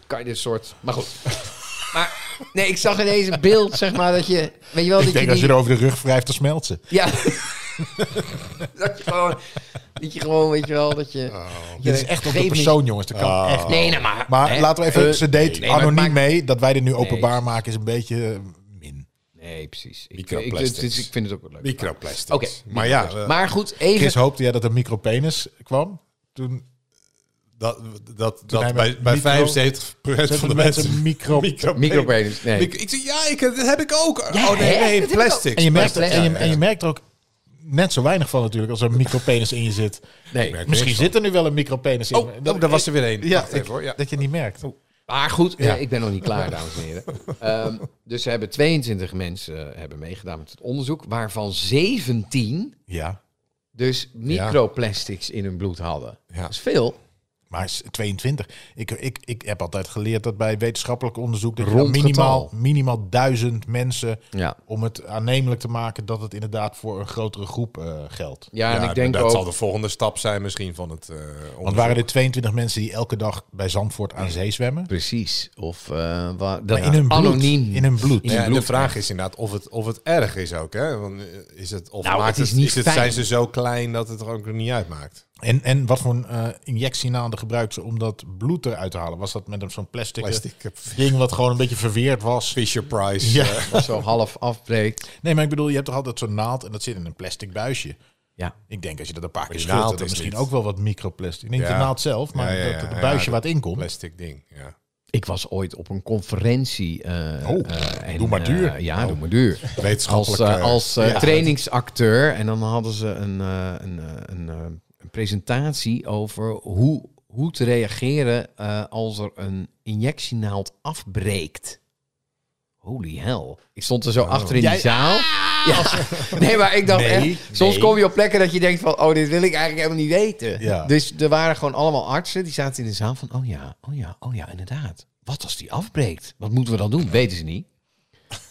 D: kan je dit soort... Maar goed. Maar nee, ik zag ineens een beeld, zeg maar, dat je... Weet je wel,
C: Ik
D: dat
C: denk
D: je
C: als je
D: die-
C: er over de rug wrijft, dan smelt ze.
D: Ja. [laughs] dat je gewoon... Dat je gewoon, weet je wel, dat je...
C: Oh, Dit is echt op de
D: Geef niet-
C: persoon, jongens. Dat kan echt niet.
D: Nee, nou maar...
C: Maar
D: hè?
C: laten we even,
D: Eh,
C: ze deed
D: nee, maar het
C: anoniem
D: maakt-
C: mee. Dat wij dit nu openbaar maken is een beetje eh, min.
D: Nee, precies. Ik,
B: Microplastics.
D: Ik, ik, ik vind het ook wel leuk.
B: Microplastics.
D: Oké.
B: Maar ja, eh,
D: maar goed, even...
C: Chris, hoopte jij dat er micropenis kwam? Toen
B: dat, dat,
C: hij
B: dat
C: met
B: bij, bij
C: micro-
B: 75% van de mensen...
C: micro...
D: Micropenis, nee.
B: Ik, ik zeg, ja, ik, dat heb ik ook.
D: Ja,
B: oh nee,
D: hè?
B: nee,
D: Dat heb ik
B: plastic.
C: En je, merkt,
D: Ja,
C: en, je,
D: ja.
C: en je merkt er ook net zo weinig van natuurlijk als er een micropenis in je zit.
D: nee.
C: Misschien zit er nu wel een micropenis in.
B: Oh,
C: maar
B: oh, daar was er weer één.
C: Ja,
B: Wacht even
C: ik-
B: hoor. Ja. Oh.
C: Dat je niet merkt.
D: Maar goed, eh,
C: Ja.
D: ik ben nog niet klaar, dames en
C: [laughs]
D: heren. Ehm, dus ze hebben 22 mensen eh, hebben meegedaan met het onderzoek, waarvan 17
C: Ja.
D: dus microplastics in hun bloed hadden.
B: Ja.
D: Dat is veel.
C: Maar s- 22. Ik, ik, ik heb altijd geleerd dat bij wetenschappelijk onderzoek... dat je
B: Rond
C: dan minimaal,
B: getal.
C: minimaal duizend mensen...
D: Ja.
C: om het aannemelijk te maken dat het inderdaad voor een grotere groep eh, geldt.
D: Ja, en
B: Ja,
D: ik denk
B: dat
D: ook...
B: zal de volgende stap zijn misschien van het eh
C: Want
B: onderzoek.
C: waren er 22 mensen die elke dag bij Zandvoort aan zee zwemmen?
D: Precies. Of eh, wa- dat
C: Maar in hun bloed.
D: anoniem.
C: In hun bloed.
B: Ja, en de vraag is inderdaad of het, of het erg is ook. Hè? Want eh, is het, of
D: Nou,
B: maakt
D: het is niet
B: het,
D: fijn.
B: Zijn ze zo klein dat het er ook niet uitmaakt?
C: En, en wat voor een eh, injectie naande gebruikte ze om dat bloed eruit te halen? Was dat met een- zo'n plastic,
B: Plastic eh,
C: ding wat gewoon een beetje verweerd was?
B: Fisher Price.
C: Ja.
B: eh,
C: [laughs]
D: Wat zo half afbreekt.
C: Nee, maar ik bedoel, je hebt toch altijd zo'n naald en dat zit in een plastic buisje.
D: Ja.
C: Ik denk als je dat een paar keer
B: die
C: schudt,
B: naald
C: dat er
B: is
C: misschien
B: niet-
C: ook wel wat microplastic. Ik denk
B: Ja.
C: de naald zelf, maar
B: Ja, ja, ja,
C: dat
B: ja,
C: het buisje
B: ja,
C: waar het in komt.
B: plastic ding. Ja.
D: Ik was ooit op een conferentie. eh,
C: Oh,
D: eh, en,
C: doe maar duur. Nou.
D: eh, ja, doe maar duur. Als,
B: Wetenschappelijk.
D: eh,
B: eh,
D: als eh,
C: ja.
D: trainingsacteur. En dan hadden ze een, eh, een, eh, een, eh, een presentatie over hoe, hoe te reageren eh, als er een injectienaald afbreekt. Holy hell. Ik stond er zo achter in
C: Oh. Jij- Ah!
D: die zaal. Ja. Nee, maar ik dacht
C: Nee,
D: echt... Soms
C: nee.
D: kom je op plekken dat je denkt van... Oh, dit wil ik eigenlijk helemaal niet weten.
C: Ja.
D: Dus er waren gewoon allemaal artsen. Die zaten in de zaal van... Oh ja, oh ja, oh ja, inderdaad. Wat als die afbreekt? Wat moeten we dan doen? Weten ze niet.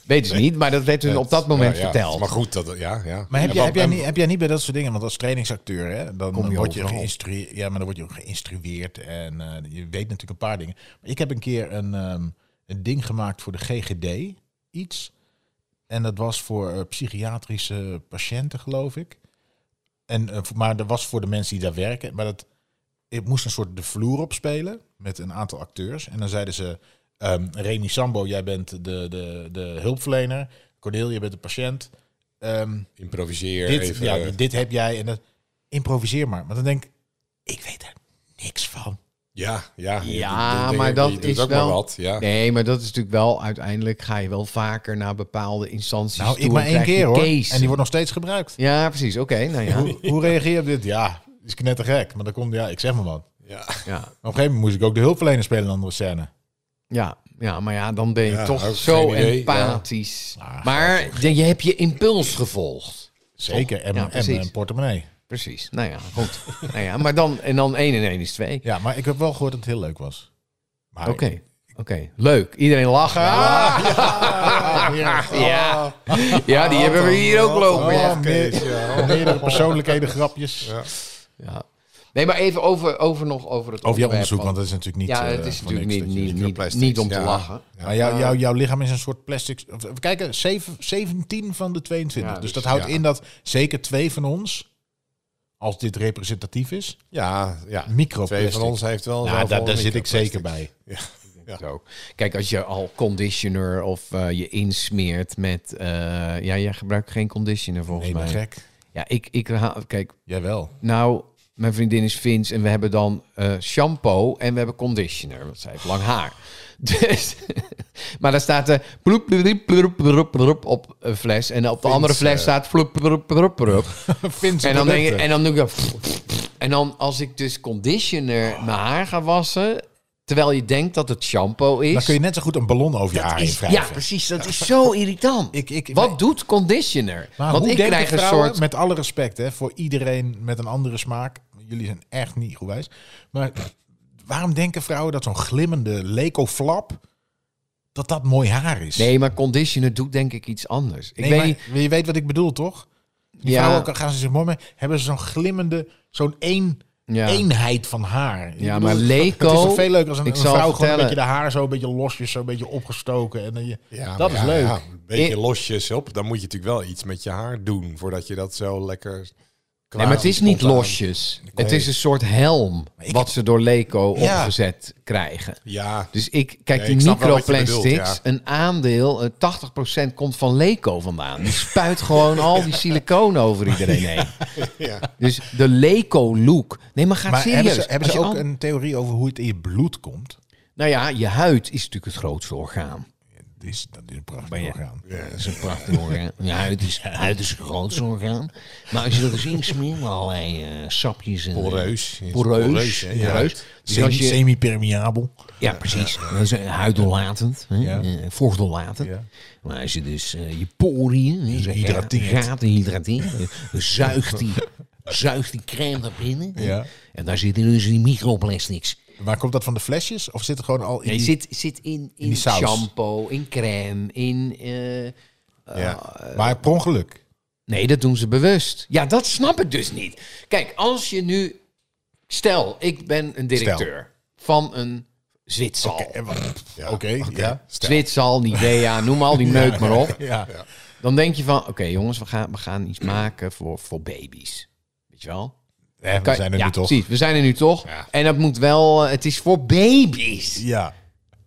D: Weten ze niet, maar dat werd hun op dat moment
B: ja, ja.
D: verteld.
B: Maar goed, dat, ja, ja.
C: Maar heb,
B: Ja,
C: jij, heb,
B: want-
C: jij
B: en-
C: niet, heb jij niet bij dat soort dingen, want als trainingsacteur, hè, dan
D: Kom je
C: word je
D: overal.
C: geïnstrueerd. Ja, maar dan word je ook geïnstrueerd en eh, je weet natuurlijk een paar dingen. Maar ik heb een keer een, ehm, een ding gemaakt voor de GGD, iets. En dat was voor eh, psychiatrische patiënten, geloof ik. En, eh, voor- maar dat was voor de mensen die daar werken. Maar dat, ik moest een soort de vloer opspelen met een aantal acteurs. En dan zeiden ze, ehm Remy Sambo, jij bent de, de, de hulpverlener. Cornel, jij bent de patiënt. Ehm,
B: Improviseer
C: dit,
B: even.
C: ja,
B: eh,
C: dit heb jij en dat, improviseer maar. Maar dan denk ik, ik weet er niks van.
B: ja, ja. Je-
D: Ja,
B: je- je- je
D: maar dat
B: doet
D: is
B: ook
D: wel-
B: maar wat. Ja.
D: Nee, maar dat is natuurlijk wel... Uiteindelijk ga je wel vaker naar bepaalde instanties
C: Nou,
D: toe.
C: ik maar
D: en
C: één
D: krijg je
C: keer hoor.
D: case.
C: En die wordt nog steeds gebruikt.
D: Ja, precies. Oké, nou ja.
C: Hoe, hoe reageer je op dit? Ja, is knettergek. Maar dan komt, ja, ik zeg maar wat.
B: Ja.
D: ja.
C: Maar op een gegeven moment moest ik ook de hulpverlener spelen in een andere scène.
D: Ja, ja, maar ja, dan ben je
B: Ja, ook
D: toch
B: geen
D: zo
B: idee,
D: empathisch.
C: Ah,
D: maar je, je hebt je impuls gevolgd.
C: Zeker. En,
D: Oh, Ja,
C: en
D: precies.
C: mijn portemonnee.
D: Precies. Nou ja, goed. nou ja, maar dan, en dan 1 en 1 is 2.
C: Ja, maar ik heb wel gehoord dat het heel leuk was. Maar
D: Oké, oké. Leuk. Iedereen lachen. Ah,
C: Ah, ja.
D: Ja, ja die hebben we hier ook lopen. ja.
C: Oh, me-
B: Kees, ja.
C: meerdere persoonlijkheden, grapjes.
D: Ja. Nee, maar even over, over nog over het
C: Over jouw
D: onderwerp
C: onderzoek,
D: van-
C: want dat is natuurlijk niet...
D: ja,
C: eh,
D: het is
C: voor
D: natuurlijk
C: niks dat
D: niet,
C: je- dus
D: niet, niet,
B: microplastics,
D: niet om te
B: ja.
D: lachen.
C: Maar jou, jou, jouw lichaam is een soort plastic. Even kijken, zeven- 17 van de 22.
D: Ja,
C: dus,
D: dus-
C: dat houdt
B: ja.
C: in dat zeker twee van ons, als dit representatief is,
B: Ja, ja. Twee
C: microplastic.
B: van ons heeft wel.
C: ja,
B: zoveel
C: Nou, daar, daar zit ik
B: microplastic.
C: zeker bij.
B: Ja.
D: Zo. Kijk, als je al conditioner of eh, je insmeert met... eh, ja, jij gebruikt geen conditioner volgens
C: Nee, maar
D: mij.
C: gek.
D: Ja, ik, ik haal... Kijk,
C: Jawel. [laughs]
D: nou, mijn vriendin is Fins en we hebben dan eh, shampoo en we hebben conditioner, want zij heeft lang haar. [laughs] Dus, [laughs] maar daar staat de ploep, ploep, ploep, ploep, ploep op een fles en op de andere
C: eh,
D: fles staat ploep, ploep, ploep, ploep.
C: Vindt
D: En dan denk ik, en dan doe ik dat. En dan als ik dus conditioner mijn haar ga wassen, terwijl je denkt dat het shampoo is.
C: dan kun je net zo goed een ballon over je haar heen
D: is
C: wrijven.
D: ja, precies. Dat is zo irritant.
C: Ik- ik-
D: Wat
C: maar-
D: doet conditioner?
C: Maar
D: Want
C: hoe
D: ik
C: denken
D: krijg een
C: vrouwen,
D: soort...
C: met alle respect hè, voor iedereen met een andere smaak, jullie zijn echt niet goed wijs, maar waarom denken vrouwen dat zo'n glimmende leco-flap, dat dat mooi haar is?
D: Nee, maar conditioner doet denk ik iets anders. Ik
C: Nee,
D: weet
C: maar
D: niet...
C: je weet wat ik bedoel, toch? Die
D: Ja.
C: vrouwen ook, gaan ze zich mooi mee. Hebben ze zo'n glimmende, zo'n één,
D: Ja.
C: eenheid van haar. Ik
D: Ja,
C: bedoel,
D: maar Leco-
C: Het is toch veel leuker als een,
D: ik
C: een
D: zal
C: vrouw gewoon een
D: vertellen.
C: beetje de haar zo een beetje losjes, zo een beetje opgestoken. En dan je,
B: Ja,
C: dat
B: maar
C: is
B: ja,
C: leuk.
B: ja, een beetje
D: Ik-
B: losjes op. Dan moet je natuurlijk wel iets met je haar doen voordat je dat zo lekker.
D: Nee, maar het is niet losjes. Het is een soort helm
C: ik-
D: wat ze door Leco
C: Ja.
D: opgezet krijgen.
B: Ja,
D: Dus ik kijk,
B: Nee,
D: die
B: ik snap wel wat je
D: microplastics,
B: bedoelt, ja.
D: een aandeel, eh, 80% komt van Leco vandaan. Die spuit gewoon
B: [laughs]
D: al die siliconen over iedereen heen.
B: ja.
D: Dus de Leco-look. Nee, maar ga
C: maar
D: serieus.
C: hebben ze, hebben
D: Als
C: ze
D: je
C: ook
D: al-
C: een theorie over hoe het in je bloed komt?
D: Nou ja, je huid is natuurlijk het grootste orgaan.
C: Dat is, dat is een prachtig orgaan.
D: Dat is een prachtig orgaan. Je huid is, huid is het grootste orgaan. Maar als je er eens in smeert, met allerlei eh, sapjes en...
B: Poreus. Is
D: Poreus.
B: poreus, hè? Ja.
D: poreus. Dus
C: Semi-
D: als je,
C: Semi-permeabel.
D: ja, precies. Dat is eh, huiddoorlatend. hè,
C: Ja.
D: eh, Vochtdoorlatend.
C: Ja.
D: Maar als je dus eh, je poriën... hè, ze
C: Hydrateert. [laughs]
D: Gaat en hydrateert. eh, zuigt die
A: zuigt die crème naar binnen.
C: Ja.
A: En daar zitten dus die microplastics.
C: Waar komt dat van de flesjes? Of zit het gewoon al in
D: Nee,
C: die...
D: zit, zit in, in,
C: die saus.
D: shampoo, in crème, in... eh,
C: ja.
D: Oh.
C: Maar per ongeluk.
D: Nee, dat doen ze bewust. Ja, dat snap ik dus niet. Kijk, als je nu... Stel, ik ben een directeur van een Zwitsal.
C: En wa- Oké, eh, ja.
D: Zwitsal, Nivea,
C: [laughs]
D: noem al die meuk maar op.
C: Ja.
D: Dan denk je van, oké jongens, we gaan, we gaan iets maken voor, voor baby's. Weet je wel?
C: Nee, Eh, we
D: Kan-
C: zijn er
D: ja,
C: nu toch.
D: Precies, we zijn er nu toch.
B: Ja.
D: En dat moet wel, eh, het is voor baby's.
C: Ja.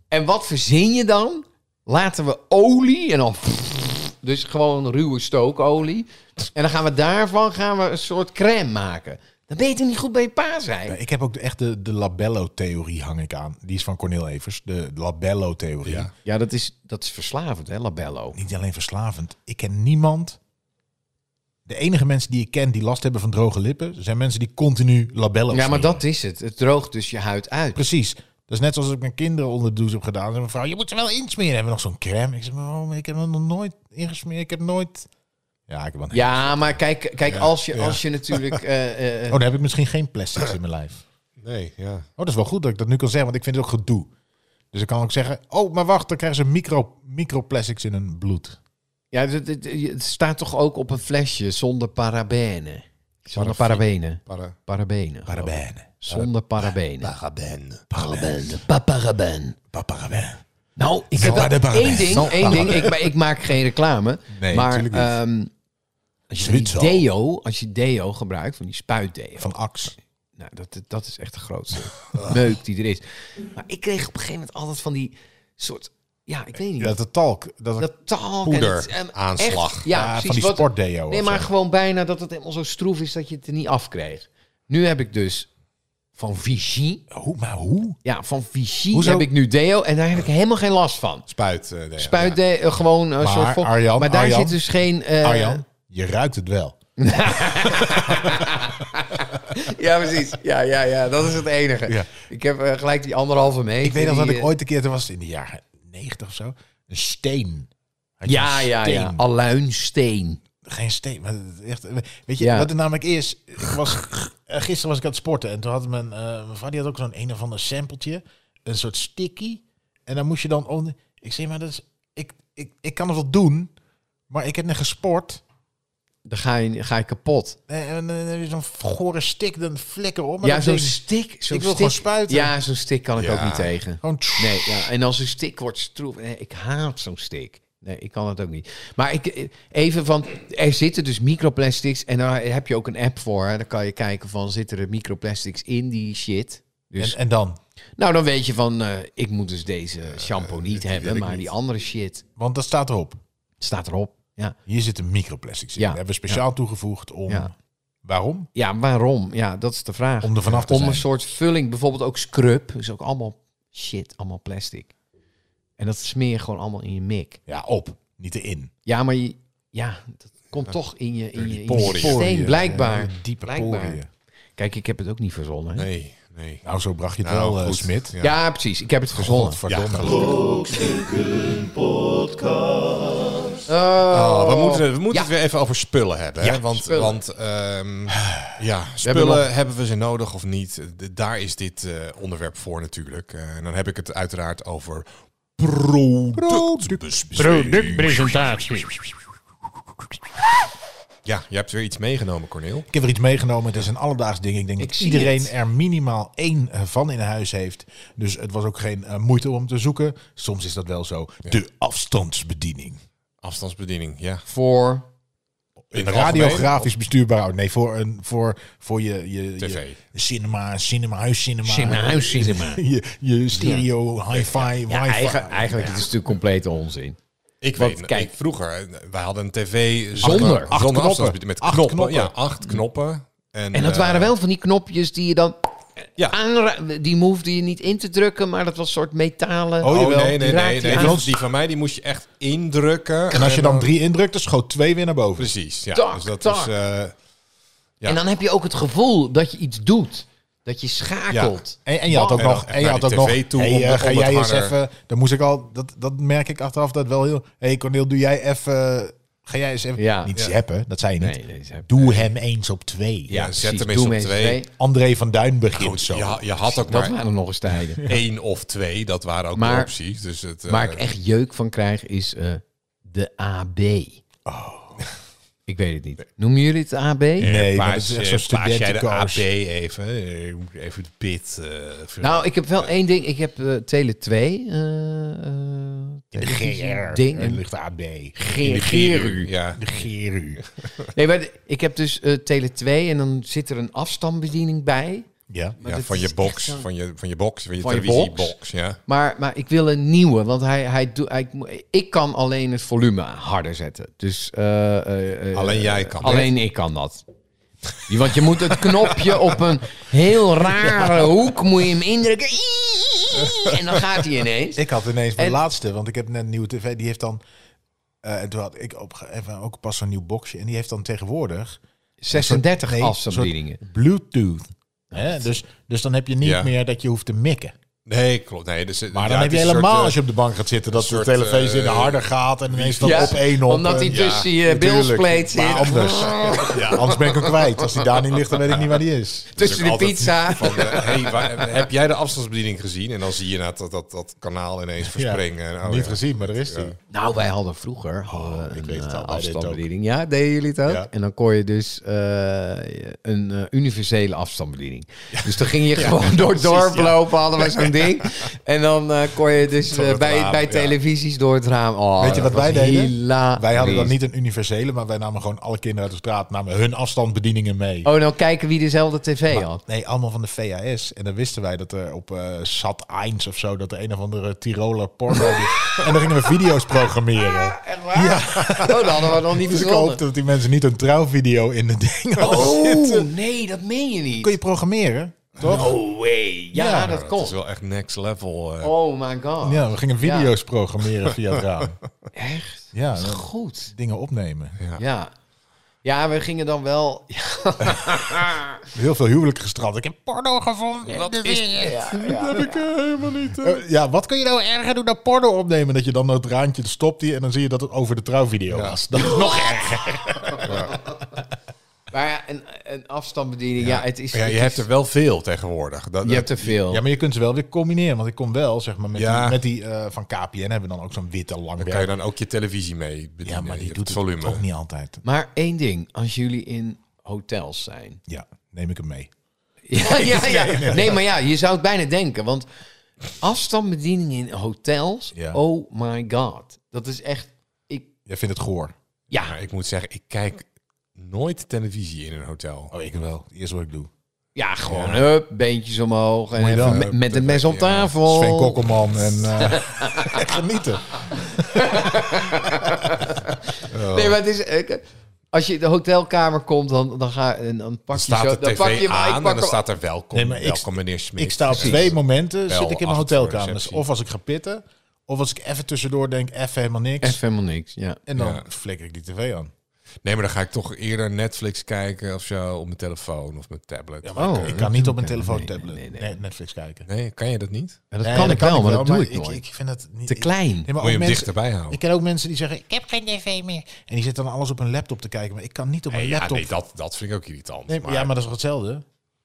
D: En wat verzin je dan? Laten we olie en dan... [laughs] Dus gewoon ruwe stookolie. En dan gaan we daarvan gaan we een soort crème maken. Dan ben je toch niet goed bij je pa zijn.
C: Ja, Ik heb ook de- echt de, de labello-theorie hang ik aan. Die is van Cornel Evers. De labello-theorie.
B: Ja.
D: Ja, dat is, dat is verslavend, hè, labello.
C: Niet alleen verslavend. Ik ken niemand... De enige mensen die ik ken die last hebben van droge lippen... zijn mensen die continu labello
D: Ja, maar
C: smeren.
D: dat is het. Het droogt dus je huid uit.
C: Precies. Dat is net zoals ik mijn kinderen onder de douche heb gedaan. Ze mijn vrouw, je moet ze wel insmeren. Hebben we nog zo'n crème? Ik zeg, maar waarom? Ik heb hem nog nooit ingesmeerd. Ik heb nooit... Ja, ik heb wel een
D: Ja, maar kijk, kijk als, je, als je
C: [laughs]
D: natuurlijk... eh, eh,
C: Oh, dan heb ik misschien geen plastics in mijn lijf.
B: Nee, ja.
C: Oh, dat is wel goed dat ik dat nu kan zeggen, want ik vind het ook gedoe. Dus ik kan ook zeggen, oh, maar wacht, dan krijgen ze micro, microplastics in hun bloed.
D: ja, dus het, het- het staat toch ook op een flesje zonder parabenen. Zonder parabenen.
B: Para.
D: Parabenen.
C: Parabenen.
D: Zonder parabenen.
B: Paraben.
D: Parabenen. Paparaben.
C: Parabenen.
D: Nou, ik
C: Zonder
D: heb wel
C: parabenen.
D: één ding.
C: Zonder
D: Één ding ik, ma- ik maak geen reclame.
C: Nee,
D: maar
C: natuurlijk niet.
D: ehm, als, je die
C: Zwitser.
D: deo, als je deo gebruikt, van die spuitdeo.
C: Van Ah. Ax.
D: Nou, dat, dat is echt de
C: [laughs]
D: grootste meuk die er is. Maar ik kreeg op een gegeven moment altijd van die soort... Ja, ik weet niet.
C: Dat de talk. Dat,
D: dat talk en
B: Poeder,
D: het, ehm, echt-
B: aanslag.
D: ja,
C: ah,
D: precies.
C: van die
D: Wat-
C: sportdeo.
D: Nee,
C: of
D: maar
C: zo.
D: gewoon bijna dat het helemaal zo stroef is dat je het er niet afkreeg. Nu heb ik dus van Vichy.
C: Hoe, maar hoe?
D: Ja, van Vichy
C: Hoezo?
D: heb ik nu deo en daar heb ik helemaal geen last van.
B: Spuit. eh, nee,
D: Spuit de, eh, gewoon een
C: Maar,
D: soort vol-
C: Arjan,
D: Maar daar
C: Arjan,
D: zit dus geen... eh,
C: Arjan, je ruikt het wel.
D: Ja, precies. Ja, ja, ja. Dat is het enige.
C: Ja.
D: Ik heb eh, gelijk die anderhalve meter.
C: Ik weet nog dat
D: die,
C: ik
D: eh,
C: ooit een keer, dat was in de jaren negentig of zo, een steen. Had je
D: Ja,
C: een
D: ja, ja.
C: steen?
D: Aluinsteen.
C: Geen steen. Maar het is echt, weet je,
D: Ja.
C: wat het namelijk is... Ik was, eh, gisteren was ik aan het sporten en toen had mijn, eh, mijn vrouw... die had ook zo'n een of ander sampletje. Een soort sticky. En dan moest je dan... Onder, ik zeg maar, dat is, ik, ik, ik kan het wel doen, maar ik heb net gesport.
D: Dan ga je, ga je kapot.
C: eh, En dan heb je zo'n gore stick, dan flikker om. en
D: ja,
C: dat
D: zo'n
C: ding-
D: stik. zo'n
C: wil
D: stik-
C: gewoon spuiten.
D: Ja, zo'n stik kan ik
B: Ja.
D: ook niet tegen.
C: Gewoon tss-
D: Nee, ja. en als een stik wordt stroef. Nee, ik haat zo'n stik. Nee, ik kan het ook niet. Maar ik, eh, even van, er zitten dus microplastics en daar heb je ook een app voor. hè. Dan kan je kijken van, zitten er microplastics in die shit? Dus,
C: En, en dan?
D: nou, dan weet je van, eh, ik moet dus
C: Eh,
D: deze shampoo niet hebben, maar die andere shit
C: Want dat staat erop.
D: staat erop. Ja,
C: Hier zitten microplastics in.
D: Ja.
C: Die hebben we speciaal toegevoegd om...
D: Ja.
C: Waarom?
D: ja waarom? Ja, dat is de vraag.
C: Om er vanaf te
D: om
C: zijn.
D: een soort vulling, bijvoorbeeld ook scrub. Dus ook allemaal shit, allemaal plastic. En dat smeer je gewoon allemaal in je mik.
C: Ja, op. Niet erin.
D: Ja, maar je, ja, dat komt toch in je, in je, in je
B: poriën.
D: systeem,
C: Poriën.
D: blijkbaar.
C: Ja, Diepe
D: Blijkbaar.
C: poriën.
D: Kijk, ik heb het ook niet verzonnen. hè?
B: Nee, nee.
C: Nou, zo bracht je het
B: Nou,
C: wel, eh,
B: goed.
C: Smit.
B: Ja.
D: ja. precies. Ik heb het verzonnen.
C: Godverdomme.
B: Oh, we moeten, het- we moeten het weer even over spullen hebben. hè?
D: Ja,
B: want
D: spullen.
B: want ehm, ja, spullen
D: hebben
B: hebben,
D: nog-
B: we ze nodig of niet? De- daar is dit eh, onderwerp voor natuurlijk. Eh, en dan heb ik het uiteraard over productbespreking.
A: Productpresentatie.
B: Ja, je hebt weer iets meegenomen, Corneel.
C: Ik heb er iets meegenomen. Het is een alledaags ding. Ik denk
D: Ik
C: dat
D: zie
C: iedereen
D: het.
C: er minimaal één eh, van in huis heeft. Dus het was ook geen eh, moeite om te zoeken. Soms is dat wel zo. De afstandsbediening.
B: Afstandsbediening, ja.
D: Voor.
B: In
C: Een
B: het
C: radiografisch bestuurbaar. oh, Nee, voor, een, voor, voor je, je,
B: TV.
C: je cinema, cinema, huiscinema.
D: cinema.
C: [laughs] Je, je stereo, hi-fi,
D: Ja,
C: wifi.
D: eigen- eigenlijk is het natuurlijk complete onzin.
B: Ik
D: Want
B: weet, het.
D: kijk-
B: kijk, vroeger, eh, wij hadden een tv zonder,
D: Zonder
B: zonder
D: acht
B: knoppen.
C: knoppen.
B: Met
C: Acht
B: knoppen,
C: knoppen.
B: ja, acht knoppen. En,
D: En dat
B: eh,
D: waren wel van die knopjes die je dan.
B: Ja.
D: aanra- die hoefde je niet in te drukken, maar dat was een soort metalen.
B: Oh,
C: Oh, jawel,
B: nee, nee,
D: die raakte
B: nee.
D: je
B: nee.
D: aan.
B: Die, die van mij die moest je echt indrukken.
C: En als je dan drie indrukt, dan schoot twee weer naar boven.
B: Precies, ja.
D: Tak,
B: dus dat
D: tak.
B: is... eh, ja.
D: En dan heb je ook het gevoel dat je iets doet. Dat je schakelt.
C: En, en je had ook
B: En dan
C: nog,
B: echt
C: en je
B: naar
C: had
B: die
C: ook nog,
B: tv toe
C: hey,
B: om
C: eh,
B: de- om
C: ga
B: het
C: jij eens
B: harder-
C: even, dan moest ik al, dat, dat merk ik achteraf dat wel heel, hey Cornel, doe jij even Ga jij eens even...
D: Ja.
C: Niet
B: Ja.
C: zeppen, dat zei je niet.
D: Nee, deze heb-
C: Doe hem eens op twee.
B: Ja, zet hem
D: precies.
B: eens
D: Doe
B: op
D: eens
B: twee.
C: André van Duin begint
B: Goed,
C: zo.
B: je, ha- je had ook
D: Dat
B: maar
D: waren nog eens [laughs] tijden.
B: één of twee. Dat waren ook
D: Maar-
B: maar, opties. Dus het, eh,
D: Waar ik echt jeuk van krijg is eh, de AB. Ik weet het niet. Noemen jullie het AB?
C: Oh. Nee, maar het
B: Paas,
C: is echt
B: eh,
C: zo'n
B: paas jij de
C: studentenkoos.
B: AP even. eh, ik moet Even de pit. eh, ver-
D: Nou, ik heb wel één ding. Ik heb eh, Tele 2. eh eh,
C: In de
D: televisie-
C: GR.
D: Ding.
C: Er
D: En
C: ligt de AB.
B: in
D: Geer-
B: de
D: Geru.
B: Geru, Ja.
C: De Geru.
D: Nee, maar de- ik heb dus eh, Tele 2 en dan zit er een afstandsbediening bij.
C: Ja.
D: Maar
B: Ja,
D: dat
B: van
D: is
B: je
D: echt
B: box,
D: zo-
B: van je, van je box, van je
D: Van je
B: televisiebox, ja.
D: Maar, maar ik wil een nieuwe, want hij, hij doet. hij- ik kan alleen het volume harder zetten. Dus, eh, eh, eh,
B: Alleen jij kan
D: Alleen ik kan dat. Je- Want je moet het knopje op een heel rare hoek moet je hem indrukken. En dan gaat hij ineens.
C: Ik had ineens mijn
D: En-
C: laatste, want ik heb net een nieuwe tv. Die heeft dan... eh, en toen had ik op, even, ook pas zo'n nieuw boxje. En die heeft dan tegenwoordig
D: 36
C: Nee,
D: afstandsbedieningen.
C: Bluetooth. Hè? Dus, dus dan heb je niet
B: Ja.
C: meer dat je hoeft te mikken.
B: Nee, klopt. Nee, dus, eh,
C: Maar
B: ja,
C: dan heb
B: het
C: je
B: is een
C: helemaal,
B: soort, eh,
C: als je op de bank gaat zitten, dat
B: soort,
C: de televisie in de
B: eh,
C: harder gaat en ineens dan
D: Ja,
C: op één op.
D: Omdat hij
C: en-
B: dus
D: tussen je
C: Natuurlijk.
D: bilspleet zit.
C: Maar
B: [laughs]
C: anders. Ja, anders ben ik hem kwijt. Als hij daar niet ligt, dan weet ik niet waar die is.
D: Tussen de
B: Natuurlijk
D: pizza.
B: Van, eh, hey, waar- heb jij de afstandsbediening gezien? En dan zie je dat, dat, dat, dat kanaal ineens verspringen. En, oh,
C: niet
B: ja.
C: gezien, maar daar is hij.
D: Nou, wij hadden vroeger hadden we
C: Oh, ik
D: een
C: weet het
D: eh,
C: al, wij deden het
D: afstandsbediening. Ja, deden jullie het ook?
C: Ja.
D: En dan kon je dus eh, een eh, universele afstandsbediening. Dus dan ging je gewoon door het dorp lopen, hadden
C: [laughs]
D: wij zo'n ding. En dan eh, kon je dus
B: Door
D: eh,
B: het
D: bij,
B: raam,
D: bij
B: ja.
D: televisies door het raam. Oh,
C: Weet je
D: dat
C: wat wij
D: was
C: deden?
D: hilarisch.
C: Wij hadden dan niet een universele, maar wij namen gewoon alle kinderen uit de straat, namen hun afstandsbedieningen mee.
D: Oh, nou kijken wie dezelfde tv had.
C: Nee, allemaal van de VHS. En dan wisten wij dat er op eh Sat 1 of zo, dat er een of andere Tiroler porno... [laughs] en dan gingen we video's programmeren.
D: Oh, dat hadden we nog
C: [laughs]
D: niet
C: Dus [laughs] ik hoop
D: verzonnen.
C: dat die mensen niet een trouwvideo in de ding hadden
D: Oh,
C: zitten.
D: nee, dat meen je niet.
C: Kun je programmeren? Toch?
D: No way. Ja,
C: Ja,
D: dat
B: Dat is
D: kon.
B: wel echt next level. eh.
D: Oh my god.
C: Ja, we gingen video's programmeren via [laughs] het raam.
D: Echt?
C: Ja, en dan
D: Goed.
C: dingen opnemen.
D: Ja. Ja, we gingen dan wel. Ja,
C: Heel veel huwelijken gestrand. Ik heb porno gevonden. Wat is Dat heb ik eh, helemaal niet. Eh, ja, wat kun je nou erger doen dan porno opnemen? Dat je dan dat raantje stopt die en dan zie je dat het over de trouwvideo was. Dat is nog erger.
D: [laughs] maar ja, een, een afstandsbediening. Ja, het is.
B: Maar ja, je
D: het
B: hebt
D: is-
B: er wel veel tegenwoordig. Dat,
D: je hebt er veel.
C: Ja, maar je kunt ze wel weer combineren. Want ik kom wel, zeg maar, met
B: Ja.
C: die, met die eh, van KPN hebben we dan ook zo'n witte lange
B: dan kan je dan ook je televisie mee
C: Ja,
B: bedienen.
C: maar die
B: het
C: doet het
B: volume.
C: ook niet altijd.
D: Maar één ding, als jullie in hotels zijn.
C: Ja, neem ik hem mee.
D: [laughs] Ja, ja, ja. [laughs] Nee, maar ja, je zou het bijna denken. Want afstandsbediening in hotels.
C: Ja.
D: Oh my god. Dat is echt. Ik,
C: Jij vindt het goor.
D: ja,
B: Maar ik moet zeggen, ik kijk nooit televisie in een hotel.
C: Oh, ik wel. Eerst wat ik doe.
D: ja, gewoon hup, beentjes omhoog. En
C: Moet je
D: even
C: dan?
D: met, met een mes op
B: Ja.
D: tafel.
C: Sven Kokkelman en
D: [laughs]
C: eh, [laughs] genieten.
D: Nee, maar het is. eh, Als je in de hotelkamer komt, dan, dan, ga, en dan pak
B: Dan
D: je
B: staat
D: zo.
B: de tv
D: pak je, hem- ik
B: aan
D: pak
B: en dan
D: hem-
B: staat er welkom,
C: Nee, maar ik-
B: welkom meneer Smit.
C: Ik sta op
B: Precies.
C: twee momenten,
B: Bel
C: zit ik in mijn
B: acht voor
C: hotelkamer. Dus
B: receptie.
C: of als ik ga pitten, of als ik even tussendoor denk, even helemaal niks.
D: Even helemaal niks, ja.
C: En dan
B: Ja.
C: flikker ik die tv aan.
B: Nee, maar dan ga ik toch eerder Netflix kijken of zo op mijn telefoon of mijn tablet.
C: Ja, maar
D: Oh,
C: ik, ik
D: dat
C: kan niet op
D: doe
C: mijn
D: ik helemaal
C: telefoon,
D: niet.
C: tablet,
D: Nee, nee,
C: net- Netflix kijken.
B: Nee, kan je dat niet?
D: Ja, dat
C: Nee,
D: kan ik wel, maar dat doe ik, nooit.
C: Ik, vind dat niet...
D: Te klein.
C: Nee, maar
B: Moet je
C: ook
B: hem
C: mensen,
B: dichterbij houden?
C: Oh. ik ken ook mensen die zeggen, ik heb geen tv meer. En die zitten dan alles op hun laptop te kijken. Maar ik kan niet op mijn
B: Nee, ja,
C: laptop...
B: nee, dat, dat vind ik ook irritant.
C: Nee,
B: maar,
C: Ja, maar dat is toch hetzelfde?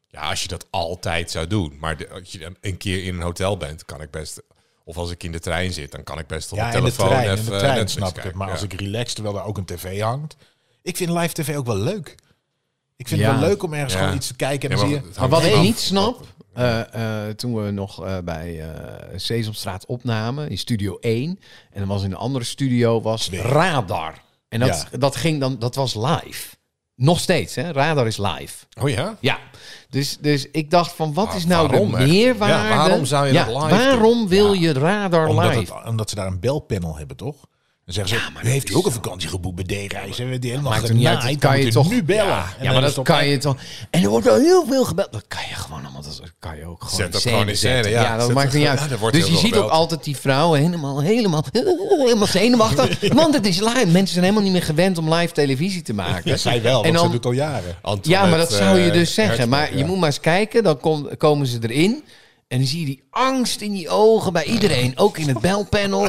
B: ja, als je dat altijd zou doen. Maar de- als je dan een keer in een hotel bent, kan ik best... Of als ik in de trein zit, dan kan ik best op
C: Ja,
B: mijn
C: in de
B: telefoon
C: trein,
B: even eh,
C: in de trein
B: Netflix
C: snap ik het.
B: kijken,
C: Maar
B: ja.
C: als ik relax, terwijl daar ook een tv hangt. Ik vind live tv ook wel leuk. Ik vind
D: Ja.
C: het wel leuk om ergens
B: Ja.
C: gewoon iets te kijken. En
B: Ja,
C: dan
B: maar
C: zie je...
B: het
D: Maar
B: hangt
D: wat ik
B: vanaf
D: niet snap, eh, eh, toen we nog eh, bij eh Sesamstraat opnamen, in studio 1, en dan was in een andere studio, was Radar. En dat, dat, ging dan, dat was live. Nog steeds, hè? Radar is live.
B: Oh ja?
D: Ja, dus, dus ik dacht van, wat
B: Maar
D: is nou
B: waarom
D: de
B: echt?
D: meerwaarde?
B: Ja, waarom zou je
D: Ja,
B: dat live
D: Waarom wil je Radar
C: Omdat,
D: live?
C: het, omdat ze daar een belpanel hebben, toch? Dan zeggen ze,
D: maar
C: u
D: dat
C: heeft u
D: is
C: ook een vakantie geboekt bij D-reis. En we die helemaal
D: Maakt het niet uit,
C: genaaid,
D: dat kan
C: dan
D: je
C: moet u
D: toch-
C: nu bellen. En
D: Ja,
C: dan
D: maar
C: hebben
D: dat
C: ze op-
D: kan je toch. En er wordt wel heel veel gebeld. Dat kan je gewoon allemaal. Dat kan je ook gewoon.
B: Zet dat
D: in scène
B: gewoon in scène,
D: zetten.
B: ja.
D: dat
B: Zet
D: maakt
B: het
D: niet
B: gewoon-
D: uit.
B: ja, er wordt
D: dus
B: heel
D: je ziet
B: veel
D: ook
B: gebeld.
D: altijd die vrouwen helemaal, helemaal, [laughs] helemaal zenuwachtig.
B: [laughs]
D: Want het is live. Mensen zijn helemaal niet meer gewend om live televisie te maken.
C: Ja, zij wel,
D: En
C: want
D: dan-
C: ze doet al jaren.
B: Antoinette,
D: Ja, maar dat zou je
B: eh,
D: dus zeggen.
B: Hertzog,
D: Maar je
B: ja.
D: moet maar eens kijken, dan kom- komen ze erin. En dan zie je die angst in die ogen bij iedereen, ook in het belpanel.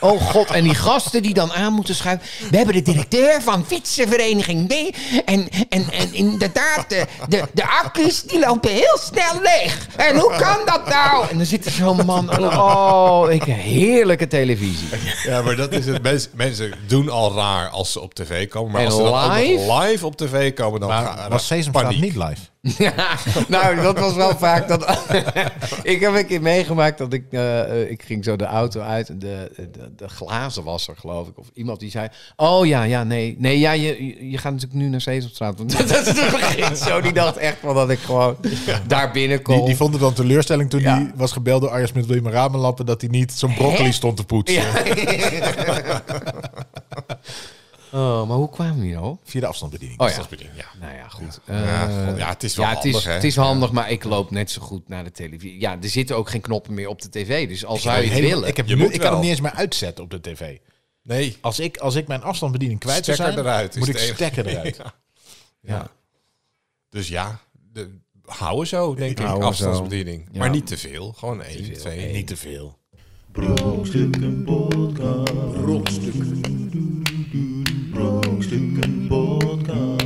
D: Oh god, en die gasten die dan aan moeten schuiven. We hebben de directeur van fietsenvereniging B. En, en, en inderdaad, de, de, de accu's die lopen heel snel leeg. En hoe kan dat nou? En dan zit er zo'n man. Oh, ik, heerlijke televisie.
B: Ja, maar dat is het. Mensen, mensen doen al raar als ze op tv komen. Maar
D: En
B: als ze dan ook nog
D: live?
B: live op tv komen, dan ga-
C: Maar was Sesamstraat
B: paniek.
C: niet live?
D: Ja, nou, dat was wel vaak dat. [laughs] ik heb een keer meegemaakt dat ik. eh, eh, ik ging zo de auto uit. en De, de, de glazen was er, geloof ik. Of iemand die zei. Oh ja, ja, nee. Nee, ja, je, je- je gaat natuurlijk nu naar Sesamstraat. Want [laughs] dat is de begin zo. Die dacht echt wel dat ik gewoon daar binnenkom.
C: Die, die vond het dan teleurstelling toen
D: Ja.
C: hij was gebeld door Arjen Smit. Wil je mijn ramen lappen? Dat hij niet zo'n broccoli
D: Hè?
C: stond te poetsen. [laughs]
D: Ja. oh, maar hoe kwamen we hier al?
C: Via de afstandsbediening.
D: Oh ja.
B: Afstandsbediening, ja.
D: Nou ja, goed.
B: Ja,
D: Eh,
B: god, ja, het is wel
D: ja, het is,
B: handig, hè?
D: het is handig, maar ik loop net zo goed naar de televisie. Ja, er zitten ook geen knoppen meer op de tv. Dus al zou je het
C: Helemaal-
D: willen.
C: Ik, heb
B: Je
C: nu-
B: moet
C: ik kan
B: wel.
C: hem niet eens meer uitzetten op de tv.
B: Nee.
C: Als ik, als ik mijn afstandsbediening kwijt zou
B: Stekker
C: zijn,
B: eruit is
C: moet ik
B: het enige.
C: stekker
B: [laughs]
C: eruit.
D: Ja.
B: Dus ja, de, houden zo, denk ik.
D: Houden zo.
B: afstandsbediening.
D: Ja.
B: Maar niet te veel. Gewoon één, twee.
C: Niet te veel.
E: Brokstukken podcast. Brokstukken. Brokstukken podcast.